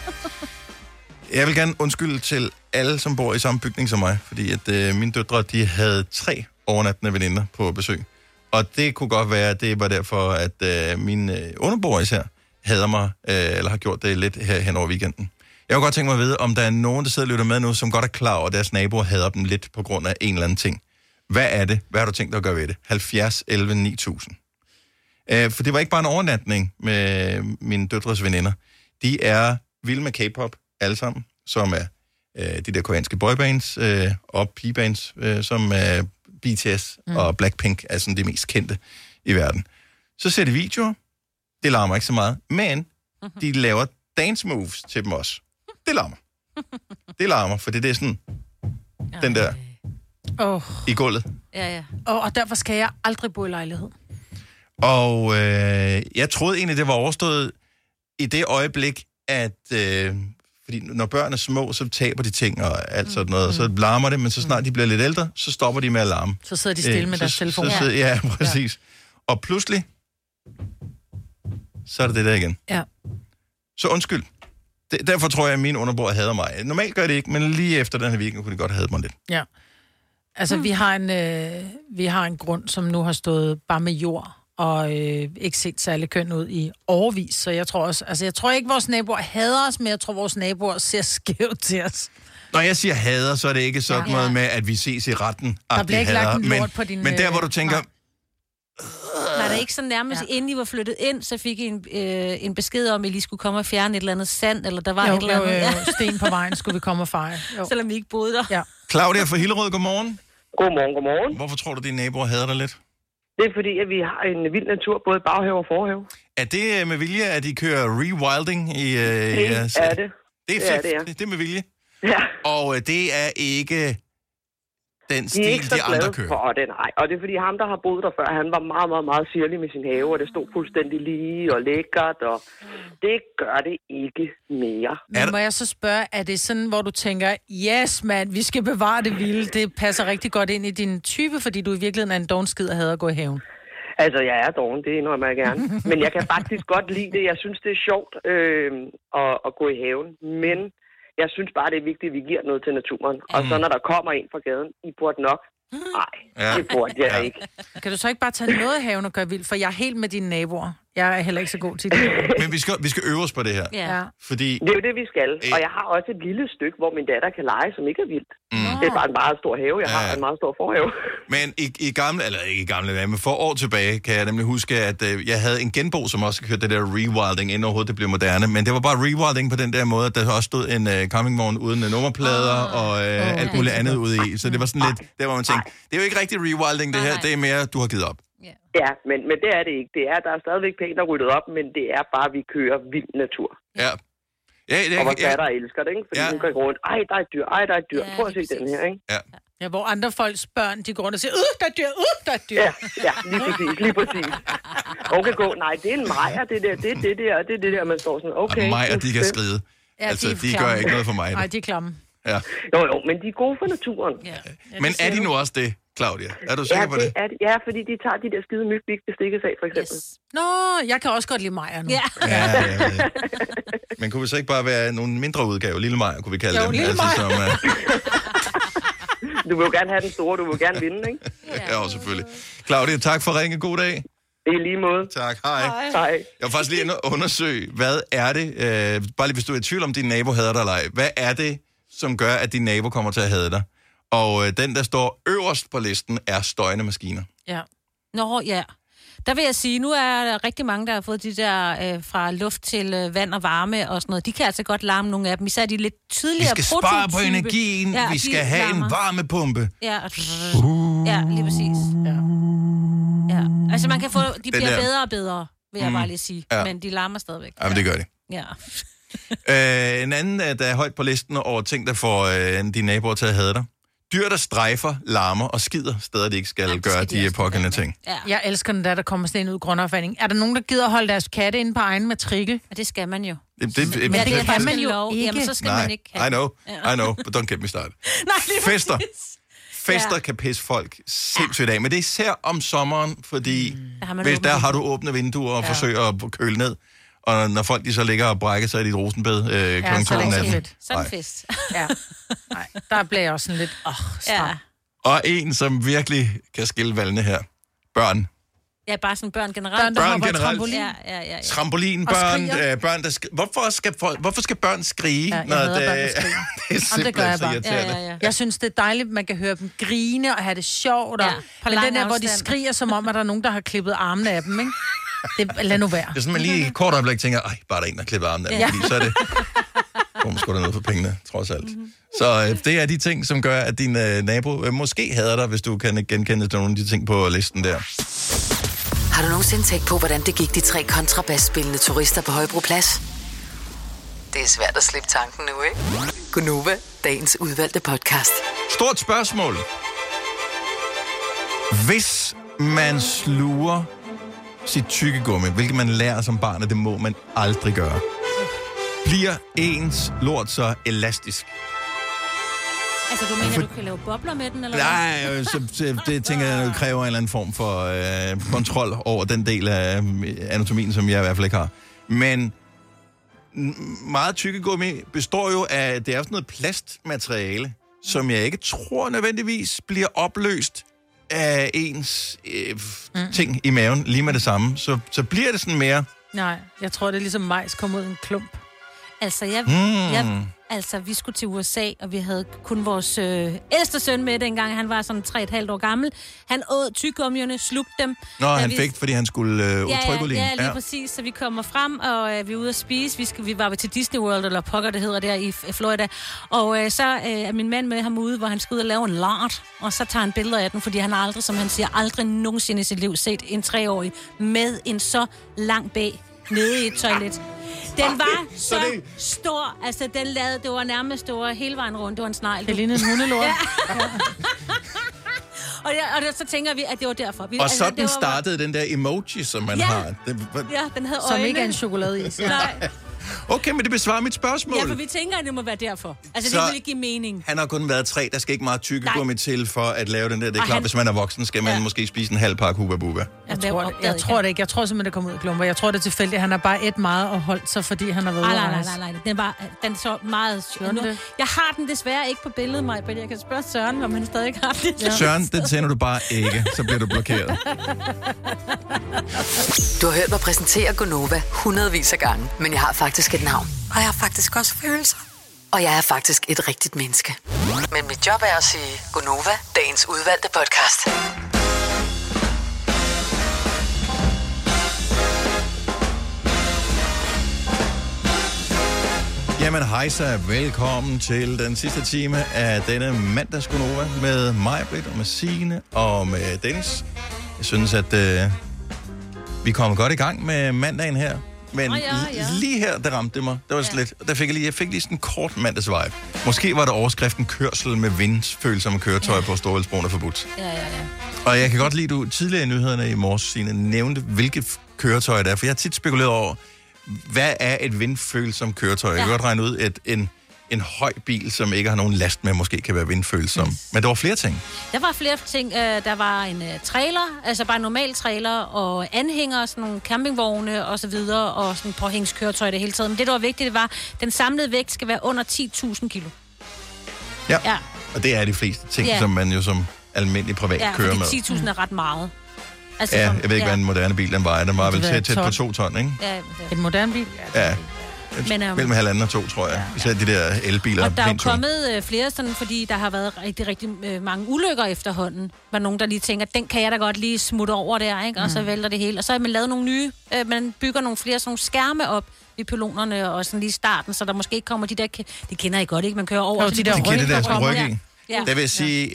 Jeg vil gerne undskylde til alle, som bor i samme bygning som mig, fordi at øh, mine døtre, de havde tre overnattende veninder på besøg. Og det kunne godt være, at det var derfor, at øh, min øh, underboer især hader mig, øh, eller har gjort det lidt her hen over weekenden. Jeg kunne godt tænke mig at vide, om der er nogen, der sidder og lytter med nu, som godt er klar over, at deres naboer hader dem lidt på grund af en eller anden ting. Hvad er det? Hvad har du tænkt dig at gøre ved det? 70 11 9000. Øh, for det var ikke bare en overnatning med mine døtres veninder. De er vilde med K-pop, alle sammen, som er øh, de der koreanske boybands øh, og pigebands, øh, som er BTS mm. og Blackpink er sådan de mest kendte i verden. Så ser de videoer. Det larmer ikke så meget. Men de laver dance moves til dem også. Det larmer. Det larmer, for det er sådan, den der Åh, i gulvet. Ja, ja. Og, og derfor skal jeg aldrig bo i lejlighed. Og øh, jeg troede egentlig, det var overstået i det øjeblik, at... Øh, fordi når børn er små, så taber de ting og alt sådan noget. og Så Mm-hmm. larmer det, men så snart de bliver lidt ældre, så stopper de med at larme. Så sidder de stille Øh, med så- deres telefon. Så, så, ja, præcis. Og pludselig, så er det det der igen. Ja. Så undskyld. Det, derfor tror jeg, at min underbror hader mig. Normalt gør det ikke, men lige efter den her weekend kunne de godt have mig lidt. Ja. Altså, mm. vi, har en, øh, vi har en grund, som nu har stået bare med jord og øh, ikke set særlig køn ud i overvis. Så jeg tror også, altså jeg tror ikke, vores naboer hader os, men jeg tror, vores naboer ser skævt til os. Når jeg siger hader, så er det ikke sådan Ja. noget med, at vi ses i retten. Der at bliver de ikke lagt hader. en lort men, på din, Men der, hvor du øh, tænker, nej. Var det ikke så nærmest, ja. inden I var flyttet ind, så fik I en, øh, en besked om, at I lige skulle komme og fjerne et eller andet sand, eller der var Jo, et eller jo, andet, jo, ja, jo, sten på vejen skulle vi komme og fejre. Jo. <laughs> selvom I ikke boede der. Ja. Claudia fra Hillerød, godmorgen. Godmorgen, godmorgen. Hvorfor tror du, dine naboer hader dig lidt? Det er fordi, at vi har en vild natur, både baghave og forhave. Er det øh, med vilje, at de kører rewilding i øh, Det jeres- er det. Det er Det er fedt. det, ja. det, det er med vilje. Ja. Og øh, det er ikke den De stil, er ikke så de andre glade kører. for det, nej. Og det er fordi ham, der har boet der før, han var meget, meget, meget syrlig med sin have, og det stod fuldstændig lige og lækkert, og det gør det ikke mere. Er Men der- må jeg så spørge, er det sådan, hvor du tænker, yes mand, vi skal bevare det vilde, det passer rigtig godt ind i din type, fordi du i virkeligheden er en dogenskid og hader at gå i haven? Altså, jeg er doven, det indrømmer jeg <laughs> gerne. Men jeg kan faktisk godt lide det. Jeg synes, det er sjovt øh, at, at gå i haven. Men jeg synes bare, det er vigtigt, at vi giver noget til naturen. Og Mm. så når der kommer en fra gaden, I burde nok. Nej, Ja. det burde jeg Ja. ikke. Kan du så ikke bare tage noget af haven og gøre vildt, for jeg er helt med dine naboer. Jeg er heller ikke så god til det. Men vi skal, vi skal øve os på det her. Ja. Ja. ja. Fordi Det er jo det, vi skal. Og jeg har også et lille stykke, hvor min datter kan lege, som ikke er vildt. Det er bare en meget stor have. Jeg har Mm. Ja. en meget stor forhave. <laughs> Men i, i gamle, eller ikke i gamle dage, men for år tilbage, kan jeg nemlig huske, at øh, jeg havde en genbo, som også kørte det der rewilding, inden overhovedet det blev moderne. Men det var bare rewilding på den der måde, at der også stod en øh, Coming Morgen uden øh, nummerplader og øh, alt muligt andet ude i. Så det var sådan lidt, der hvor man tænkte, det er jo ikke rigtig rewilding det her, Nej. det er mere, du har givet op. Ja, men, men det er det ikke. Det er, der er stadigvæk pænt og ryddet op, men det er bare, at vi kører vild natur. Ja. Ja, det, Og er- vores datter elsker det, ikke? Fordi Ja. ja. hun går rundt. Ej, der er et dyr. Ej, der er et dyr. Ja, Ja, Prøv at se lige den præcis. her, ikke? ja. ja. hvor andre folks børn, de går rundt og siger, øh, der er dyr, øh, der er dyr. Ja, ja, lige præcis, lige præcis. Okay, gå. Nej, det er en mejer, det der, det er det der, og det er det der, man står sådan, okay. Og mig og de kan det- skride. Ja, altså, de de, er gør klamme. ikke noget for mig. Nej, de er klamme. Ja. Jo, jo, men de er gode for naturen. Ja, Men er de nu også det, Claudia? Er du sikker på det det? er, de. ja fordi de tager de der skide myg, vi ikke bestikkes af, for eksempel. Yes. Yes. Nå, jeg kan også godt lide Maja nu. ja. Ja, jeg ved det. <laughs> Men kunne vi så ikke bare være nogle mindre udgaver? Lille Maja kunne vi kalde Jo, dem. Lille Maja. som, uh, Du vil jo gerne have den store, du vil jo gerne vinde, ikke? Ja, jo, selvfølgelig. Claudia, tak for at ringe. God dag. Det er lige måde. Tak, hej. Nej, Jeg vil faktisk lige inde og undersøge, hvad er det, øh, bare lige hvis du er i tvivl om, din nabo hader dig eller ej. Hvad er det, som gør, at din nabo kommer til at hade dig? Og øh, den, der står øverst på listen, er støjende maskiner. Ja. Nå, ja. Der vil jeg sige, nu er der rigtig mange, der har fået de der øh, fra luft til øh, vand og varme og sådan noget. De kan altså godt larme nogle af dem, især de lidt Vi tidligere skal spare på prototype. energien, Ja, vi de skal have en Uh. larmer. varmepumpe. Ja, og... ja, lige præcis. Ja. Ja. Altså, man kan få, de bliver der. bedre og bedre, vil jeg bare lige sige. Mm. Ja. Men de larmer stadigvæk. Jamen, det gør det. Ja. Øh, en anden, øh, der er højt på listen over ting, der får øh, dine naboer til at hade dig. Dyr, der strejfer, larmer og skider, steder de ikke skal Jamen, det gøre skal de de, de også lade pågældende være med. ting. Ja. ja. Jeg elsker, når der, der kommer sådan en ud i grundopfanding. Er der nogen, der gider holde deres katte inde på egen matrikel? Og det skal man jo. Det, det, Men det det kan kan man man jo lov. ikke. Jamen, så skal man ikke Nej, have. I know, I know, but don't get me started. Nej, lige Fester. præcis. fester ja. kan pisse folk sindssygt af, men det er især om sommeren, fordi Der har mm. man hvis åbne der har du åbne vinduer og ja. forsøger at køle ned, og når folk de så ligger og brækker sig i dit rosenbed øh, kl. så 2 er det om ikke så natten. fedt. Sådan en Nej. fest. Ja. <laughs> Nej, der bliver jeg også sådan lidt, åh, oh, Ja. Og en, som virkelig kan skille valgene her. Børn. ja, bare sådan børn generelt. Børn, der Børn hopper i generelt. trampolin. Ja, ja, ja. ja. Trampolinbørn, Og skriger. øh, børn, der sk- hvorfor, skal folk, hvorfor skal børn skrige? Ja, jeg hader børn, der skriger. <laughs> det er Jamen, det gør simpelthen jeg så bare. irriterende. Ja, ja, ja. Jeg synes, det er dejligt, at man kan høre dem grine og have det sjovt. Og, Ja, ja, på men lang den der, hvor de afstand. skriger, som om, at der er nogen, der har klippet armene af dem, ikke? Det, lad nu være. Det er sådan, man lige i et kort øjeblik tænker, ej, bare der er en, der klipper armen af, ja. fordi så er det... Hvor man skulle noget for pengene, trods alt. Så øh, det er de ting, som gør, at din øh, nabo øh, måske hader dig, hvis du kan genkende til nogle af de ting på listen der. Har du nogensinde tænkt på, hvordan det gik de tre kontrabasspillende turister på Højbroplads? Det er svært at slippe tanken nu, ikke? Gunova, dagens udvalgte podcast. Stort spørgsmål. Hvis man sluger sit tykkegummi, hvilket man lærer som barn, at det må man aldrig gøre, bliver ens lort så elastisk? Altså, du mener, du kan lave bobler med den, eller hvad? Nej, øh, så, så det tænker jeg kræver en eller anden form for øh, kontrol over den del af øh, anatomien, som jeg i hvert fald ikke har. Men n- meget tykkegummi består jo af, det er sådan noget plastmateriale, som jeg ikke tror nødvendigvis bliver opløst af ens øh, mm. ting i maven lige med det samme. Så, så bliver det sådan mere... <laughs> Nej, jeg tror, det er ligesom majs kom ud af en klump. Hmm. Altså, jeg, Mm. jeg, altså, vi skulle til USA, og vi havde kun vores øh, ældste søn med dengang. Han var sådan 3,5 år gammel. Han åd tyggegummierne, slugte dem. Nå, Da han vi- fik, fordi han skulle øh, Ja, ja, udtrykke ja, lige ja. præcis. Så vi kommer frem, og øh, vi er ude at spise. Vi, skal, vi var til Disney World, eller pokker det hedder der i F- Florida. Og øh, så øh, er min mand med ham ude, hvor han skal ud og lave en lart. Og så tager han billeder af den, fordi han har aldrig, som han siger, aldrig nogensinde i sit liv set en treårig med en så lang bag nede i et toilet. Den var så Ah, det- stor, altså den lavede, det var nærmest, det var hele vejen rundt, det var en snegl. Det lignede <laughs> en hundelort. ja. Og, jeg, og så tænker vi, at det var derfor. Vi, Og altså, det sådan var- startede den der emoji, som man Ja. har. Det, var- Ja, den havde Som øjne. ikke er en chokolade i. <laughs> Så. Nej, Okay, men det besvarer mit spørgsmål. ja, for vi tænker, at det må være derfor. Altså, Så- det ville ikke give mening. Han har kun været tre. Der skal ikke meget tykkegummi til for at lave den der. Det er Og klart, han- hvis man er voksen, skal man Ja. måske spise en halv pakke Hubba Bubba. Jeg tror, det, jeg tror det ikke. Jeg tror simpelthen, det kom ud af klumper. Jeg tror, det er tilfældigt. Han har bare et meget og holdt sig, fordi han har været Nej, ude at nej, nej, rejse. nej, nej. Den, var, øh, den så meget... den Nu, det? jeg har den desværre ikke på billedet, mig, men jeg kan spørge Søren, om han stadig har den. Ja. Søren, den sender du bare ikke, så bliver du blokeret. Du har hørt mig præsentere Gunova hundredvis af gange, men jeg har faktisk et navn. Og jeg har faktisk også følelser. Og jeg er faktisk et rigtigt menneske. Men mit job er at sige Gunova, dagens udvalgte podcast. Jamen hej så, velkommen til den sidste time af denne mandagskonova med mig, Britt, og med Signe og med Dennis. Jeg synes, at øh, vi kommer godt i gang med mandagen her. Men Åh, ja, ja. lige her, der ramte det mig. Det var ja. lidt, der fik jeg, lige, jeg fik lige sådan en kort mandagsvibe. Måske var der overskriften kørsel med vindfølsomme køretøjer ja. på Storvældsbroen er forbudt. Ja, ja, ja. Og jeg kan godt lide, du tidligere i nyhederne i morges, Signe, nævnte, hvilke f- køretøjer det er. For jeg har tit spekuleret over, hvad er et vindfølsomt køretøj? Ja. Jeg kan godt regne ud, at en, en høj bil, som ikke har nogen last med, måske kan være vindfølsom. Mm. Men der var flere ting. Der var flere ting. Øh, Der var en øh, trailer, altså bare en normal trailer, og anhænger, sådan nogle campingvogne og så videre, og sådan påhængskøretøj i det hele taget. Men det, der var vigtigt, det var, at den samlede vægt skal være under 10.000 kilo. Ja. Ja, Og det er de fleste ting, ja. Ja. som man jo som almindelig privat ja ja, kører fordi med. 10.000 er ret meget. Altså, Ja, som- jeg ved ikke, hvad en moderne bil den vejer. Den var vel Det er tæt, tæt på ton. to ton, ikke? Ja, ja. Et moderne bil? Ja. Ja. Men, øhm, Mellem halvanden og to, tror jeg. Især de der elbiler. Og der er jo pænt tunge. kommet øh, flere, sådan, fordi der har været rigtig, rigtig øh, mange ulykker efterhånden. Var nogen, der lige tænker, den kan jeg da godt lige smutte over der, ikke? og så Mm. vælter det hele. Og så har man lavet nogle nye, øh, man bygger nogle flere sådan nogle skærme op i pylonerne og sådan lige i starten, så der måske ikke kommer de der, ke- det kender I godt, ikke? Man kører over. Jo, så de der Det giver det der sådan kommer. ryg i. Ja. Der vil jeg sige,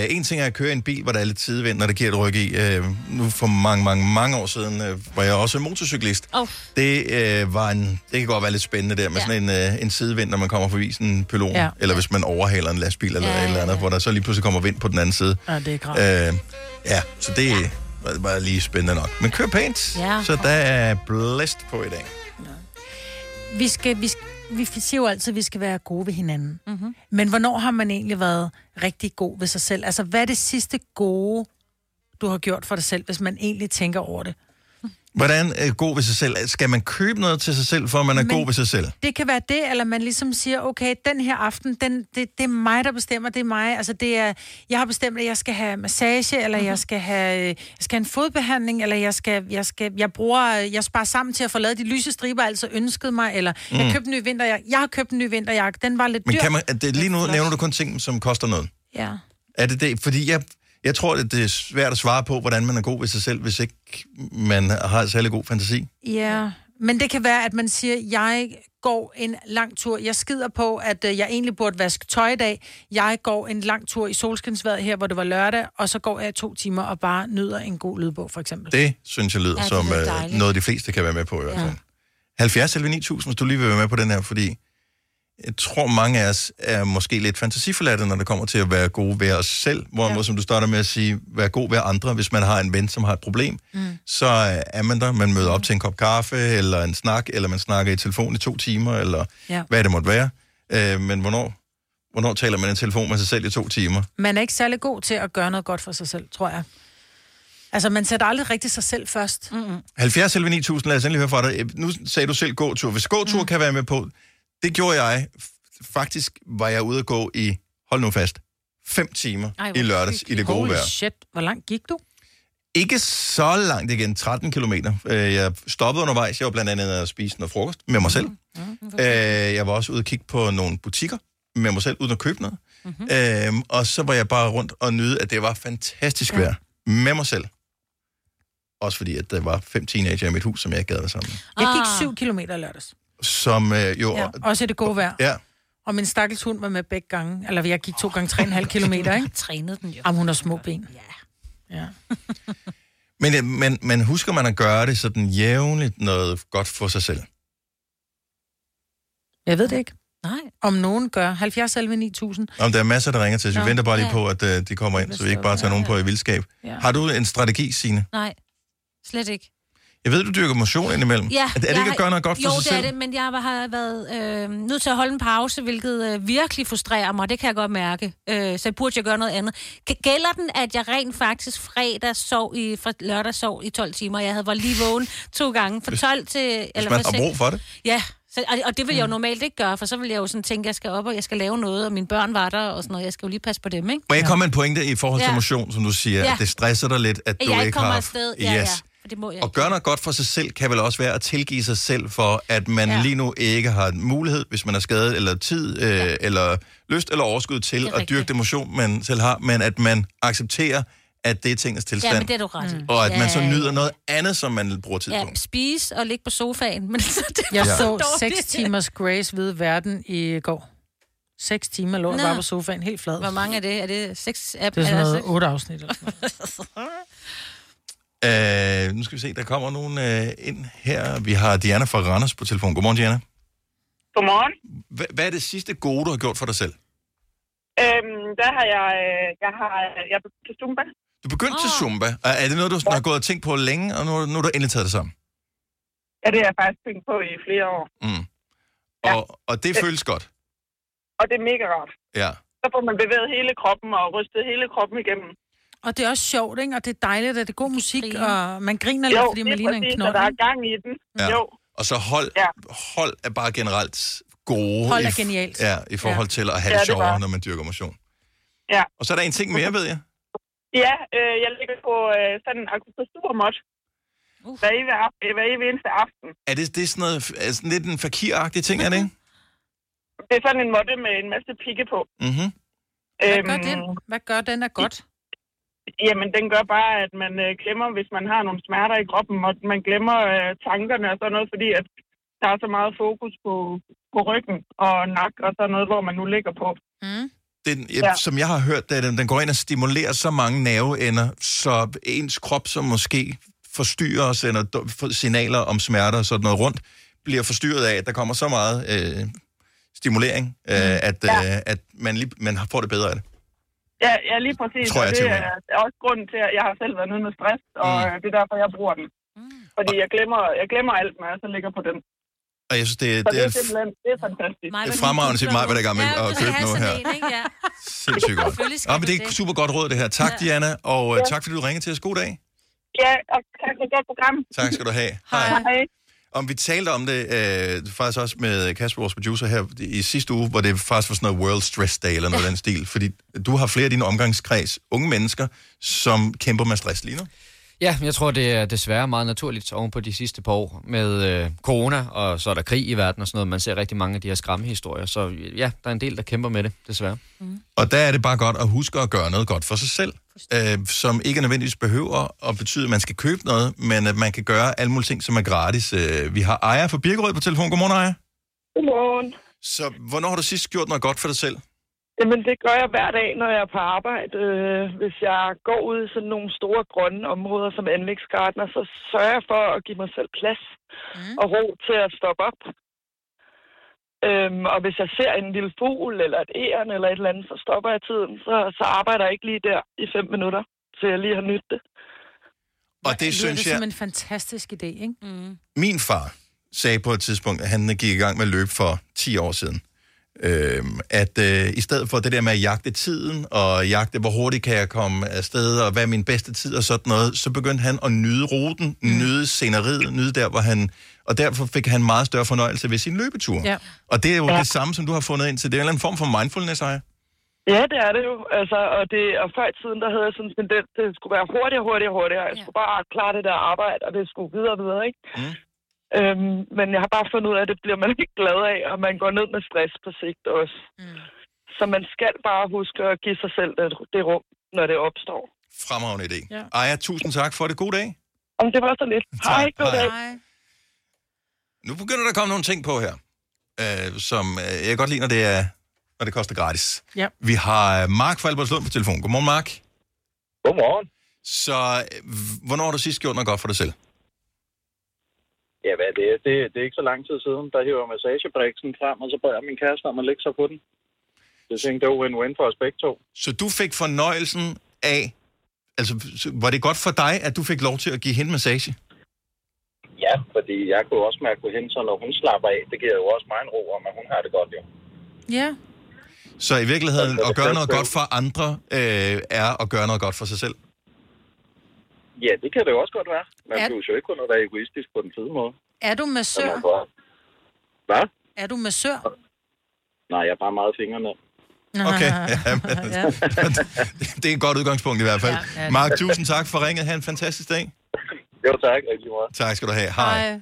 øh, en ting er at køre i en bil, hvor der er lidt sidevind, når det giver et ryg i. Øh, nu for mange, mange, mange år siden øh, var jeg også motorcyklist. Åh. Det, øh, var en, det kan godt være lidt spændende der med Ja. sådan en, øh, en sidevind, når man kommer forbi sådan en pylon, Ja. eller hvis man overhaler en lastbil eller Ja, et eller ja, andet, ja. hvor der så lige pludselig kommer vind på den anden side. Ja, det er grav. Øh, ja, så det ja. var bare lige spændende nok. Men kør pænt, Ja. så der er blæst på i dag. Vi skal, vi skal, vi siger jo altid, at vi skal være gode ved hinanden. Mhm. Mm-hmm. Men hvornår har man egentlig været rigtig god ved sig selv? Altså, hvad er det sidste gode, du har gjort for dig selv, hvis man egentlig tænker over det? Hvordan er god ved sig selv? Skal man købe noget til sig selv, for at man er Men- Men... god ved sig selv? Det kan være det, eller man ligesom siger, okay, den her aften, den, det, det er mig, der bestemmer, det er mig. Altså, det er, jeg har bestemt, at jeg skal have massage, eller Mhm. jeg skal have, øh, jeg skal have en fodbehandling, eller jeg skal, jeg skal, jeg bruger, øh, jeg sparer sammen til at få lavet de lyse striber, jeg altså ønskede mig, eller mm. jeg købte en ny vinter, jeg, jeg har købt en ny vinterjakke, den var lidt Mhm. Men dyr. kan man, er det, lige nu nævner du kun ting, som koster noget. Ja. Er det det? Fordi jeg, jeg tror, at det er svært at svare på, hvordan man er god ved sig selv, hvis ikke man har særlig god fantasi. Ja, men det kan være, at man siger, jeg går en lang tur. Jeg skider på, at øh, jeg egentlig burde vaske tøj i dag. Jeg går en lang tur i solskinsværet her, hvor det var lørdag, og så går jeg i to timer og bare nyder en god lydbog, for eksempel. Det synes jeg lyder Ja, ja, det som lyder øh, dejligt. noget, de fleste kan være med på i hvert fald. Ja. 70 eller 9000, hvis du lige vil være med på den her, fordi jeg tror, mange af os er måske lidt fantasiforladte, når det kommer til at være gode ved os selv. Hvorimod, ja. som du starter med at sige, være god ved andre, hvis man har en ven, som har et problem. Mm. Så øh, er man der, man møder op til en kop kaffe, eller en snak, eller man snakker i telefon i to timer, eller Ja. ja. hvad det måtte være. Øh, men hvornår, hvornår taler man i telefon med sig selv i to timer? Man er ikke særlig god til at gøre noget godt for sig selv, tror jeg. Altså, man sætter aldrig rigtig sig selv først. Mm. 70 selv 9000, lad os endelig høre fra dig. Øh, Nu sagde du selv gåtur. Hvis gåtur mm. kan være med på, det gjorde jeg. F- Faktisk var jeg ude at gå i, hold nu fast, 5 timer Ej, Ej, hvor i lørdags i det gode Holy vejr. shit, hvor langt gik du? Ikke så langt igen, 13 kilometer. Øh, Jeg stoppede undervejs. Jeg var blandt andet at spise noget frokost med mig selv. Mm. Jeg var også ude at kigge på nogle butikker med mig selv, uden at købe noget. Mm-hmm. Øhm, og så var jeg bare rundt og nyde, at det var fantastisk vejr med mig selv. Også fordi, at der var fem teenager i mit hus, som jeg ikke gad at være sammen med. Jeg gik Ah. syv kilometer i lørdags. som øh, jo... Ja. Ja. Også i det gode vejr. ja. Og min stakkels hund var med begge gange. Eller jeg gik to gange tre og en halv kilometer, ikke? Trænede den jo. Jamen, hun har små ben. Ja. ja. Men, øh, men, men husker man at gøre det sådan jævnligt noget godt for sig selv? Jeg ved det ikke. Nej. Om nogen gør. 70 11 9000. Om der er masser, der ringer til os. Vi Nå, venter bare lige ja. på, at øh, de kommer ind, så vi ikke bare tager nogen på i vildskab. Ja. Har du en strategi, Signe? Nej, slet ikke. Jeg ved, du dyrker motion indimellem. Ja, er, er det jeg ikke at har- gøre noget godt for jo, sig selv? det er det, men jeg har været øh, nødt til at holde en pause, hvilket øh, virkelig frustrerer mig, det kan jeg godt mærke. Øh, så burde jeg gøre noget andet. G- gælder den, at jeg rent faktisk fredag sov i, fra lørdag sov i 12 timer? Jeg havde var lige vågen to gange, fra 12 til... Hvis Eller man Mm. fra har seks- brug for det. Ja, så, og, og det vil jeg jo normalt ikke gøre, for så vil jeg jo sådan tænke, at jeg skal op, og jeg skal lave noget, og mine børn var der, og sådan noget. Jeg skal jo lige passe på dem, ikke? Må jeg komme med en pointe i forhold til Ja. motion, som du siger, Ja. at det stresser dig lidt, at At du jeg ikke kommer har... afsted. Ja, ja, yes. for det må jeg Og gøre noget godt for sig selv kan vel også være at tilgive sig selv for, at man ja. lige nu ikke har mulighed, hvis man er skadet, eller tid, øh, ja. eller lyst eller overskud til at rigtigt. dyrke det motion, man selv har, men at man accepterer, at det er tingens tilstand, Ja, men det er du ret i. Mm. og at man så Ja, nyder noget andet, som man bruger tid Ja, på. spise og ligge på sofaen. Men <laughs> så det Jeg var ja. så dårligt. 6 timers Grace ved verden i går. 6 timer lå jeg Nå. bare på sofaen, helt flad. Hvor mange er det? Er det seks app? Det er sådan altså, noget 8 afsnit. Eller sådan noget. Øh, nu skal vi se, der kommer nogen øh, ind her. Vi har Diana fra Randers på telefon. Godmorgen, Diana. Godmorgen. Hva- hvad er det sidste gode, du har gjort for dig selv? Øhm, der har jeg... øh, Jeg har... Jeg er begyndt til Zumba. Du begyndte oh. til Zumba. Er- Er det noget, du sådan har gået og tænkt på længe, og nu, nu er du endelig taget det sammen? Ja, det har jeg faktisk tænkt på i flere år. Mm. Ja. Og, og det Øh. føles godt. Og det er mega rart. Ja. Så får man bevæget hele kroppen og rystet hele kroppen igennem. <laughs> Og det er også sjovt, ikke? Og det er dejligt, at det er god musik, grine. og man griner lidt, fordi man lige ligner en præcis, knold. og der er ikke? gang i den. Ja. Jo, Og så hold, Ja. ja. hold er bare generelt gode. Hold er i f- genialt. Ja, i forhold til at have Ja, ja, det det er sjovere, bare- når man dyrker motion. Ja. Og så er der en ting mere, ved jeg. Ja, øh, jeg ligger på øh, sådan en akupressurmåt. Uh. Uh. Hver, evig, af- hver evig eneste aften. Er det, det er sådan, noget, f- er sådan lidt en fakiragtig ting, er det ikke? Det er sådan en måtte med en masse pigge på. Øhm, Mm-hmm. Hvad gør Mm. den? Hvad gør den er godt? Jamen, den gør bare, at man øh, glemmer, hvis man har nogle smerter i kroppen, og man glemmer øh, tankerne og sådan noget, fordi at der er så meget fokus på, på ryggen og nak og sådan noget, hvor man nu ligger på. Mm. Den, Ja. ja. Som jeg har hørt, det er, den, den går ind og stimulerer så mange nerveender, så ens krop, som måske forstyrrer og sender d- f- signaler om smerter og sådan noget rundt, bliver forstyrret af, at der kommer så meget øh, stimulering, øh, at, øh, at man, lige, man får det bedre af det. Ja, ja lige præcis. Tror jeg, og det Theo, er, er også grunden til, at jeg har selv været nede med stress, og Mm. mm. det er derfor, jeg bruger den. Fordi jeg glemmer, jeg glemmer alt, når jeg så ligger på den. Og jeg synes, det, Så det er simpelthen det er fantastisk. Mig, Det er fremragende til mig, hvad der er i gang med at købe noget her. Ja. sindssygt Selvfølgelig godt. skal Ja, men du det er det. super godt råd, det her. Tak, Diana, og øh, tak, fordi du ringede til os. God dag. Ja, og tak for et godt program. Tak skal du have. Hej. Om vi talte om det øh, faktisk også med Kasper, vores producer her, i sidste uge, hvor det faktisk var sådan noget World Stress Day eller noget af den stil. Fordi du har flere af dine omgangskreds, unge mennesker, som kæmper med stress lige nu. Ja, jeg tror, det er desværre meget naturligt oven på de sidste par år med øh, corona, og så er der krig i verden og sådan noget. Man ser rigtig mange af de her skræmmehistorier, så ja, der er en del, der kæmper med det, desværre. Og der er det bare godt at huske at gøre noget godt for sig selv, øh, som ikke nødvendigvis behøver at betyde, at man skal købe noget, men at man kan gøre alle mulige ting, som er gratis. Øh, vi har Ejer fra Birkerød på telefon. Godmorgen, Ejer. Godmorgen. Så hvornår har du sidst gjort noget godt for dig selv? Jamen, det gør jeg hver dag, når jeg er på arbejde. Øh, Hvis jeg går ud i sådan nogle store grønne områder som anlægsgartner, så sørger jeg for at give mig selv plads Mm. og ro til at stoppe op. Øhm, og hvis jeg ser en lille fugl eller et æren eller et eller andet, så stopper jeg tiden. Så, så arbejder jeg ikke lige der i fem minutter, til jeg lige har nyttet det. Og det lyder synes det som jeg, en fantastisk idé, ikke? Mm. min far sagde på et tidspunkt, at han gik i gang med løb for 10 år siden. Øhm, at øh, i stedet for det der med at jagte tiden, og jagte, hvor hurtigt kan jeg komme afsted, og hvad er min bedste tid, og sådan noget, så begyndte han at nyde ruten, mm. nyde sceneriet, nyde der, hvor han... Og derfor fik han meget større fornøjelse ved sin løbetur. Ja. Og det er jo ja. det samme, som du har fundet ind til. Det er en eller anden form for mindfulness, ejer. Ja, det er det jo. Altså, og, det, og før i tiden, der havde jeg sådan en tendens til, at det skulle være hurtigere, hurtigere, hurtigere. Jeg Ja. skulle bare klare det der arbejde, og det skulle videre og videre, ikke? Mm. Mm. Øhm, men jeg har bare fundet ud af, at det bliver man ikke glad af, og man går ned med stress på sigt også. Mm. Mm. Så man skal bare huske at give sig selv det, det rum, når det opstår. Fremragende idé. Ja. Ja. Ejer, tusind tak for det. God dag. Om det var så lidt. Hej, god Hej. dag. Nej. Nu begynder der at komme nogle ting på her, øh, som øh, jeg kan godt lide, når det, er, når det koster gratis. Ja. Vi har øh, Mark fra Albertslund på telefon. Godmorgen, Mark. Godmorgen. Så øh, hvornår har du sidst gjort noget godt for dig selv? Ja, hvad det er, det, det er ikke så lang tid siden, der hiver jeg massagebriksen frem, og så bad jeg min kæreste om at lægge sig på den. Det tænkte, det var win-win for os begge to. Så du fik fornøjelsen af... Altså, så var det godt for dig, at du fik lov til at give hende massage? Ja, fordi jeg kunne også mærke på hende, så når hun slapper af, det giver jo også mig en ro om, at hun har det godt jo. Ja. Så i virkeligheden, Altså, at gøre noget det- godt for andre, øh, er at gøre noget godt for sig selv. Ja, det kan det jo også godt være. Man Ja. ja. behøver jo ikke kun at være egoistisk på den fede måde. Er du Så man massør? får... Hvad? Er du massør? Nej, jeg er bare meget fingrene. Okay, ja, men, ja. <laughs> det er et godt udgangspunkt i hvert fald. Ja, ja. Mark, tusind tak for ringet. Ha' en fantastisk dag. Jo tak, rigtig meget. Tak skal du have. Hej. øh,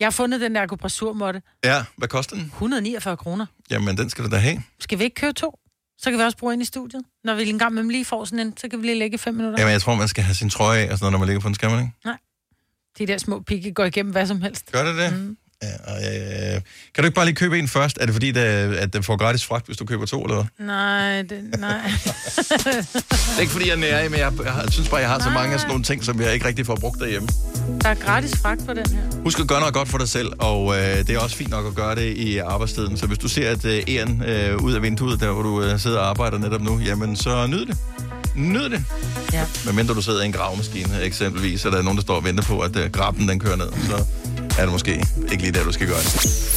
Jeg har fundet den der akupressurmåtte. Ja, hvad koster den? 149 kroner. Jamen, den skal du da have. Skal vi ikke købe to? Så kan vi også bruge en i studiet. Når vi en gang med lige får sådan en, så kan vi lige lægge i fem minutter. Jamen, jeg tror, man skal have sin trøje af, og sådan noget, når man ligger på en skærm, ikke? De der små pigge går igennem hvad som helst. Gør det det? Mm. Ja, og, øh, kan du ikke bare lige købe en først? Er det fordi, der, at den får gratis fragt, hvis du køber to, eller hvad? Nej, det, nej. Det er ikke fordi, jeg er nære, men jeg, jeg, synes bare, jeg har så mange af sådan nogle ting, som jeg ikke rigtig får brugt derhjemme. <laughs> Der er gratis fragt på den her. Husk at gøre noget godt for dig selv, og øh, det er også fint nok at gøre det i arbejdstiden. Så hvis du ser et øh, æren øh, ud af vinduet, der hvor du øh, sidder og arbejder netop nu, jamen så nyd det. Nyd det. Ja. Medmindre du sidder i en gravemaskine eksempelvis, og der er nogen, der står og venter på, at øh, grabben den kører ned, så er det måske ikke lige der, du skal gøre det.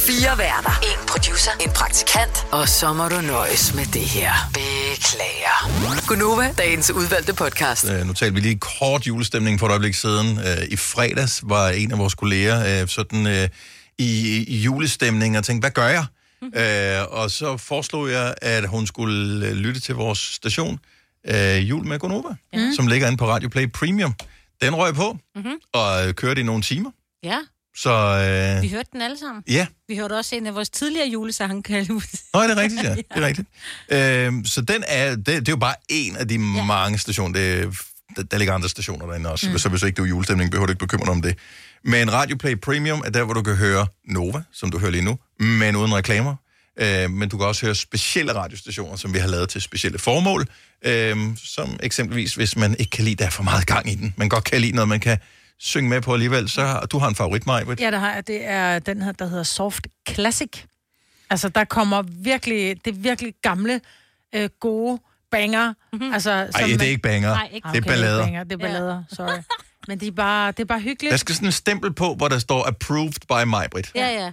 Fire værter. En producer. En praktikant. Og så må du nøjes med det her. Beklager. Gunova, dagens udvalgte podcast. Øh, nu talte vi lige kort julestemning for et øjeblik siden. Øh, I fredags var en af vores kolleger øh, sådan øh, i, i julestemning og tænkte, hvad gør jeg? Øh, og så foreslog jeg, at hun skulle øh, lytte til vores station, øh, Jul med Gonova, mm. som ligger inde på Radio Play Premium. Den røg på, mm-hmm. og øh, kørte i nogle timer. ja, Så øh, vi hørte den alle sammen. ja, Vi hørte også en af vores tidligere julesange, kalde ud. Nå, er det rigtigt, <laughs> ja. Det er rigtigt. Øhm, så den er, det, det er jo bare en af de ja. mange stationer. Det, er- der, der ligger andre stationer derinde også, mm. så hvis ikke du er i julestemning, behøver du ikke bekymre dig om det. Men Radio Play Premium er der, hvor du kan høre Nova, som du hører lige nu, men uden reklamer. Øh, men du kan også høre specielle radiostationer, som vi har lavet til specielle formål. Øh, som eksempelvis, hvis man ikke kan lide, der er for meget gang i den. Man godt kan lide noget, man kan synge med på alligevel. Så har, du har en favorit, Maja. Ja, det har jeg. Det er den her, der hedder Soft Classic. Altså, der kommer virkelig, det er virkelig gamle, øh, gode banger. Mm-hmm. Altså, Nej, det er ikke banger. Nej, ikke- Det er ballader. <laughs> Banger. Det er ballader, sorry. Men det er bare, det er bare hyggeligt. Der skal sådan en stempel på, hvor der står approved by Majbrit. Ja, ja.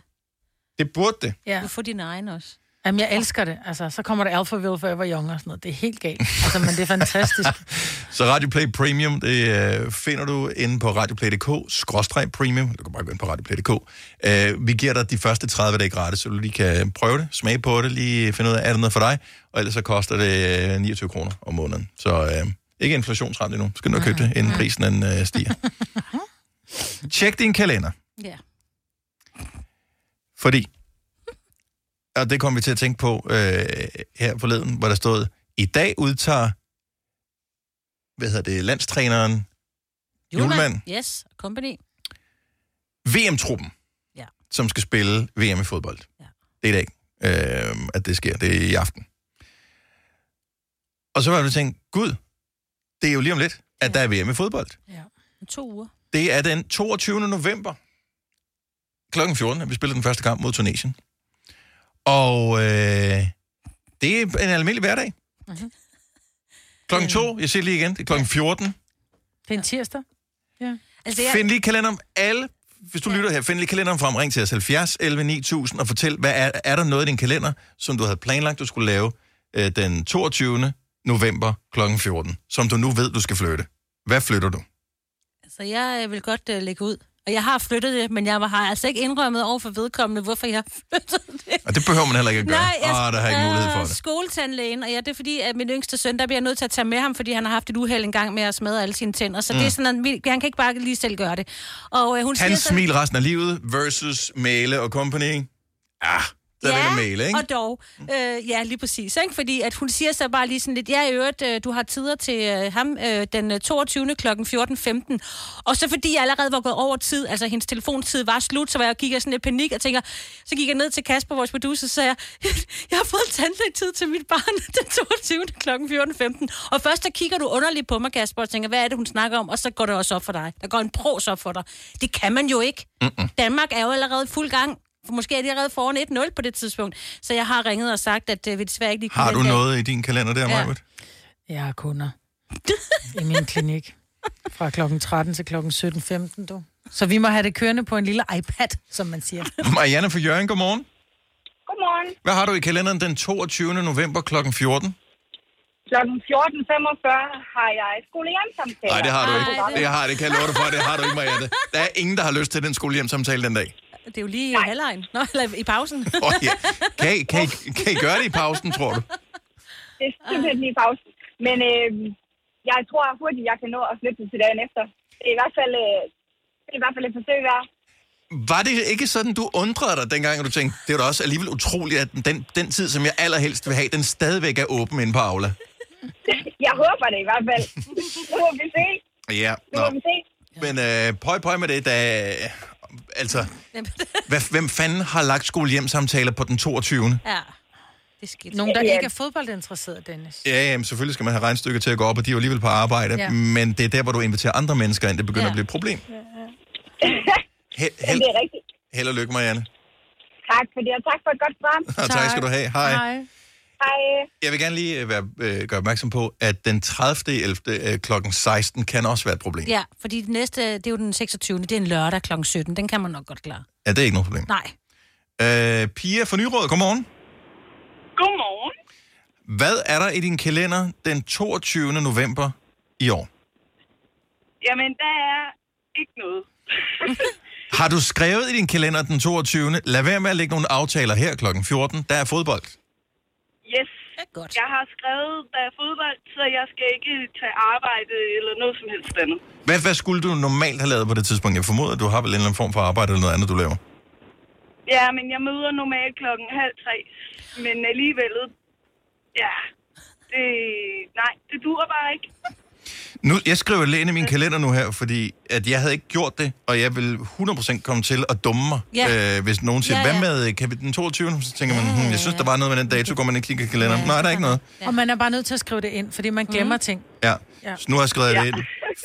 Det burde det. Ja. Du får din egen også. Jamen, jeg elsker det. Altså, så kommer der Alphaville Forever Young og sådan noget. Det er helt <laughs> galt. Altså, men det er fantastisk. Så Radioplay Premium, det øh, finder du inde på radioplay.dk, skråstreg premium, du kan bare gå ind på radioplay.dk. Øh, vi giver dig de første 30 dage gratis, så du lige kan prøve det, smage på det, lige finde ud af, er det noget for dig, og ellers så koster det øh, 29 kroner om måneden. Så øh, ikke inflationsramt endnu, skal du købe det, inden prisen den, øh, stiger. Tjek din kalender, Ja. fordi, og det kom vi til at tænke på øh, her forleden, hvor der stod, i dag udtager, hvad hedder det, landstræneren Julemand. Yes, company. VM-truppen, Ja. som skal spille VM i fodbold. Ja. Det er i dag, øh, at det sker. Det er i aften. Og så var jeg tænkt, gud, det er jo lige om lidt, at der er VM i fodbold. Om To uger. Det er den 22. november kl. 14, at vi spiller den første kamp mod Tunesien. Og øh, det er en almindelig hverdag. Mhm. Klokken Øhm. to, jeg siger lige igen, det er klokken 14. Det er en tirsdag. Altså, jeg, Find lige kalenderen. Alle, hvis du lytter her, find lige kalenderen frem. Ring til os 70 11 9000 og fortæl, hvad er, er der noget i din kalender, som du havde planlagt, du skulle lave øh, den 22. november kl. 14, som du nu ved, du skal flytte. Hvad flytter du? altså, jeg øh, vil godt uh, lægge ud. Og jeg har flyttet det, men jeg har altså ikke indrømmet over for vedkommende, hvorfor jeg har <laughs> flyttet det. Og det behøver man heller ikke at gøre. Nej, jeg, Åh, der har jeg ikke mulighed for Øh, det. Skoletandlægen, og ja, det er fordi, at min yngste søn, der bliver jeg nødt til at tage med ham, fordi han har haft et uheld engang med at smadre alle sine tænder. Så mm. det er sådan, at vi- han kan ikke bare lige selv gøre det. Og øh, hun siger Hans sådan, smil resten af livet versus Mæle og company. Ah, der ja, vil Mæle, ikke? og dog. Øh, ja, lige præcis. Ikke? Fordi at hun siger så bare lige sådan lidt, ja, i øvrigt, øh, du har tider til øh, ham øh, den øh, 22. kl. 14.15. Og så fordi jeg allerede var gået over tid, altså hendes telefontid var slut, så var jeg, gik jeg sådan lidt i panik og tænker, så gik jeg ned til Kasper, vores producer, og sagde, jeg, <laughs> jeg har fået tandlægetid til mit barn <laughs> den 22. kl. 14.15. Og først der kigger du underligt på mig, Kasper, og tænker, hvad er det, hun snakker om? Og så går det også op for dig. Der går en pros op for dig. Det kan man jo ikke. Mm-mm. Danmark er jo allerede i fuld gang. For Måske er de allerede foran 1-0 på det tidspunkt. Så jeg har ringet og sagt, at øh, vi desværre ikke lige kan Har du den dag. noget i din kalender der, Ja. Marvitt? Jeg har kunder i min klinik. Fra klokken 13 til klokken 17.15, du. Så vi må have det kørende på en lille iPad, som man siger. Marianne fra Jørgen, godmorgen. Godmorgen. Hvad har du i kalenderen den 22. november kl. 14? Klokken 14.45 har jeg skolehjemsamtale. Nej, det har du Nej, ikke. det- Det har det, kan jeg love dig for. Det har du ikke, Marianne. Der er ingen, der har lyst til den skolehjemsamtale den dag. Det er jo lige i halvlejen. Nå, eller i pausen. Oh, ja. kan, I, kan, I, kan I gøre det i pausen, tror du? Det er simpelthen lige pausen. Men øh, jeg tror hurtigt, jeg kan nå at flytte det til dagen efter. Det er i hvert fald, øh, det er i hvert fald et forsøg værd. Var det ikke sådan, du undrede dig dengang, at du tænkte, det er da også alligevel utroligt, at den, den tid, som jeg allerhelst vil have, den stadigvæk er åben inde på Aula? Jeg håber det i hvert fald. nu må vi se. Ja, Nu må vi nå. se. Men øh, pøj, pøj med det, da... Altså, hvad, hvem fanden har lagt skolehjemsamtaler på den 22. ja, det er skidt. Nogen, der ikke er fodboldinteresseret, Dennis. Ja, jamen, selvfølgelig skal man have regnstykker til at gå op, og de er jo alligevel på arbejde. Ja. Ja. Men det er der, hvor du inviterer andre mennesker ind, det begynder ja. Ja. at blive et problem. <laughs> Held, Men held, det er rigtigt. held og lykke, Marianne. Tak for det, og tak for et godt program. Og tak skal du have. Hej. Hej. Hej. Jeg vil gerne lige øh, være, øh, gøre opmærksom på, at den 30. 11. Øh, klokken 16 kan også være et problem. Ja. Ja, fordi det næste, det er jo den 26. Det er en lørdag kl. 17. Den kan man nok godt klare. ja, det er ikke noget problem. Nej. Øh, Pia fra Nyråd, godmorgen. Godmorgen. Hvad er der i din kalender den 22. november i år? Jamen, der er ikke noget. Har du skrevet i din kalender den 22. Lad være med at lægge nogle aftaler her klokken 14. Der er fodbold. Yes. Det er godt. Jeg har skrevet, der er fodbold, så jeg skal ikke tage arbejde eller noget som helst andet. Hvad, hvad skulle du normalt have lavet på det tidspunkt? Jeg formoder, at du har vel en eller anden form for arbejde eller noget andet, du laver. Ja, men jeg møder normalt klokken halv tre. Men alligevel, ja, det, nej, det dur bare ikke. Nu, jeg skriver lidt ind i min kalender nu her, fordi at jeg havde ikke gjort det, og jeg ville 100% komme til at dumme mig, Ja. øh, hvis nogen siger, Ja, ja. hvad med øh, kan vi den 22. Så tænker man, hmm, jeg synes, der var noget med den dato, går man ikke kigger i kalenderen. Nej, der er ikke noget. Ja. Og man er bare nødt til at skrive det ind, fordi man glemmer mm. ting. Ja. Ja. Så nu har jeg skrevet det ind.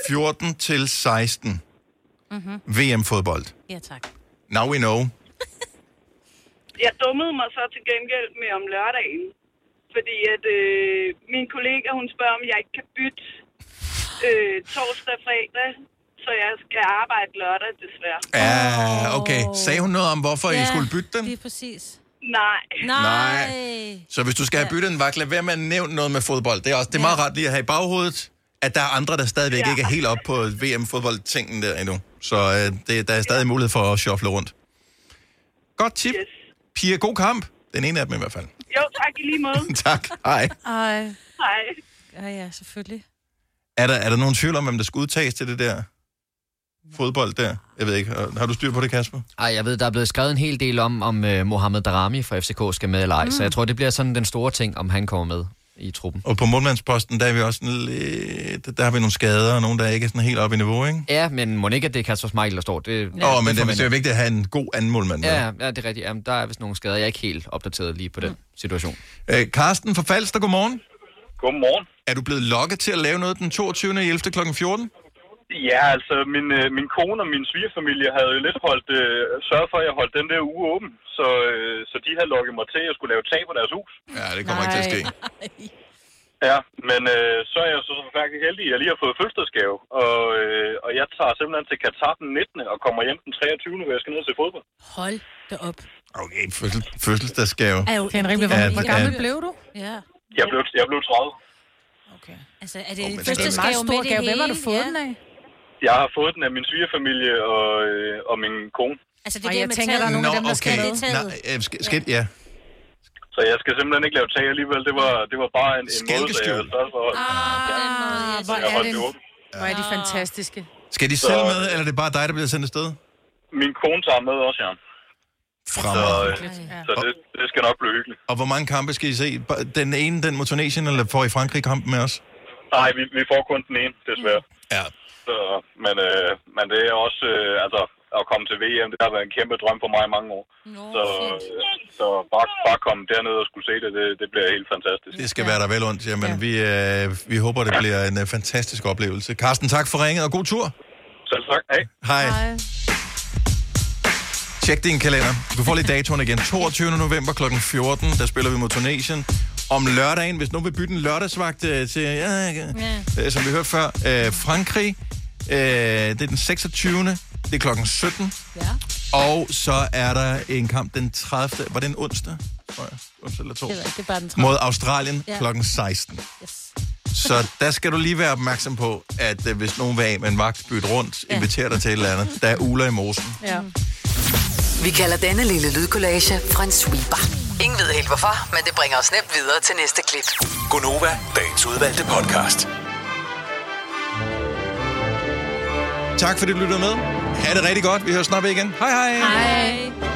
14 til 16. VM-fodbold. Ja, tak. Now we know. Jeg dummede mig så til gengæld med om lørdagen. Fordi at øh, min kollega, hun spørger, om jeg ikke kan bytte øh, torsdag og fredag. så jeg skal arbejde lørdag, desværre. Ja, Ah, okay. Sagde hun noget om, hvorfor I skulle bytte den? Lige præcis. Nej. Nej. Så hvis du skal have byttet en vagt, lad være med at nævne noget med fodbold. Det er, også, det er meget rart lige at have i baghovedet, at der er andre, der stadigvæk ja. ikke er helt op på VM-fodboldtingen der endnu. Så øh, det, der er stadig mulighed for at shuffle rundt. Godt tip. Yes. Pia, god kamp. Den ene af dem i hvert fald. <laughs> Jo, tak i lige måde. tak. Hej. Ej. Hej. Ja, ja, selvfølgelig. Er der, er der nogen tvivl om, hvem der skal udtages til det der fodbold der? Jeg ved ikke. Har du styr på det, Kasper? Ej, jeg ved, der er blevet skrevet en hel del om, om uh, Mohamed Darami fra FCK skal med eller ej, mm. så jeg tror, det bliver sådan den store ting, om han kommer med i truppen. Og på målmandsposten, der er vi også sådan lidt... Der har vi nogle skader, og nogen, der ikke er sådan helt oppe i niveau, ikke? Ja, men må ikke, at det er Kasper Schmeichel, der står? Det, Åh, oh, men det, forventer det er jo jeg. vigtigt at have en god anden målmand. med. Ja, ja, det er rigtigt. Jamen, der er vist nogle skader. Jeg er ikke helt opdateret lige på den situation. Øh, Karsten fra Falster, godmorgen. Godmorgen. Er du blevet lokket til at lave noget den 22. 11. kl. 14? Ja, altså min, øh, min kone og min svigerfamilie havde jo lidt holdt, øh, sørget for, at jeg holdt den der uge åben. Så, øh, så de havde lukket mig til, at jeg skulle lave tag på deres hus. Ja, det kommer Nej. ikke til at ske. Ja, men øh, så er jeg så faktisk heldig, at jeg lige har fået fødselsdagsgave. Og, øh, og jeg tager simpelthen til Katar den 19. og kommer hjem den 23. hvor jeg skal ned og se fodbold. Hold da op. Okay, fødsel, fødselsdagsgave. Er jo, det er en rimelig, Ja, hvor, hvor ja. gammel blev du? Ja. Jeg blev, jeg blev 30. Altså, er det Åh, oh, men første det er en skæv meget med stor det gave. hele? Hvem har du fået ja. den af? Jeg har fået den af min svigerfamilie og, øh, og min kone. Altså, det er Og det jeg med tænker, taget. der er nogle af dem, der skal Det med. er taget. Nej, øh, skal, skal, ja. Så jeg skal simpelthen ikke lave tag alligevel. Det var, det var bare en, en måde, så jeg havde sørget for. at- Ah, hvor Jeg er holdt det, det åbent. hvor er de fantastiske. Skal de selv med, eller er det bare dig, der bliver sendt afsted? Min kone tager med også, ja. Så, Fremad. øh, Mm. så det, det skal nok blive hyggeligt. Og hvor mange kampe skal I se? Bare Den ene, den mod Tunesien, eller får I Frankrig kampen med os? Nej, vi, vi får kun den ene, desværre. Ja. Så, men, øh, men det er også, øh, altså, at komme til VM, det har været en kæmpe drøm for mig i mange år. Nå, så, øh, så bare, bare komme derned og skulle se det, det, det bliver helt fantastisk. Det skal være der vel ondt, jamen vi, øh, vi håber, det bliver en øh, fantastisk oplevelse. Carsten, tak for ringet, og god tur. Selv tak. Hej. Hej. Tjek din kalender. Du får lige datoen igen. 22. november kl. 14, der spiller vi mod Tunesien. Om lørdagen, hvis nogen vil bytte en lørdagsvagt øh, til, ja, ja, øh, som vi hørte før, øh, Frankrig, øh, det er den 26. Det er klokken 17. Ja. Og så er der en kamp den 30. Var det en onsdag? Tror jeg. Onsdag eller Det er torsdag? rigtigt, det er bare den Mod Australien Ja. klokken 16. Så der skal du lige være opmærksom på, at øh, hvis nogen vil af med en vagt, bytte rundt, inviterer dig til et eller andet. Der er uler i mosen. Ja. Vi kalder denne lille lydkollage Frans sweeper. Ingen ved helt hvorfor, men det bringer os nemt videre til næste klip. Gunova, dagens udvalgte podcast. Tak fordi du lyttede med. Ha' det rigtig godt. Vi hører snart ved igen. Hej hej. Hej.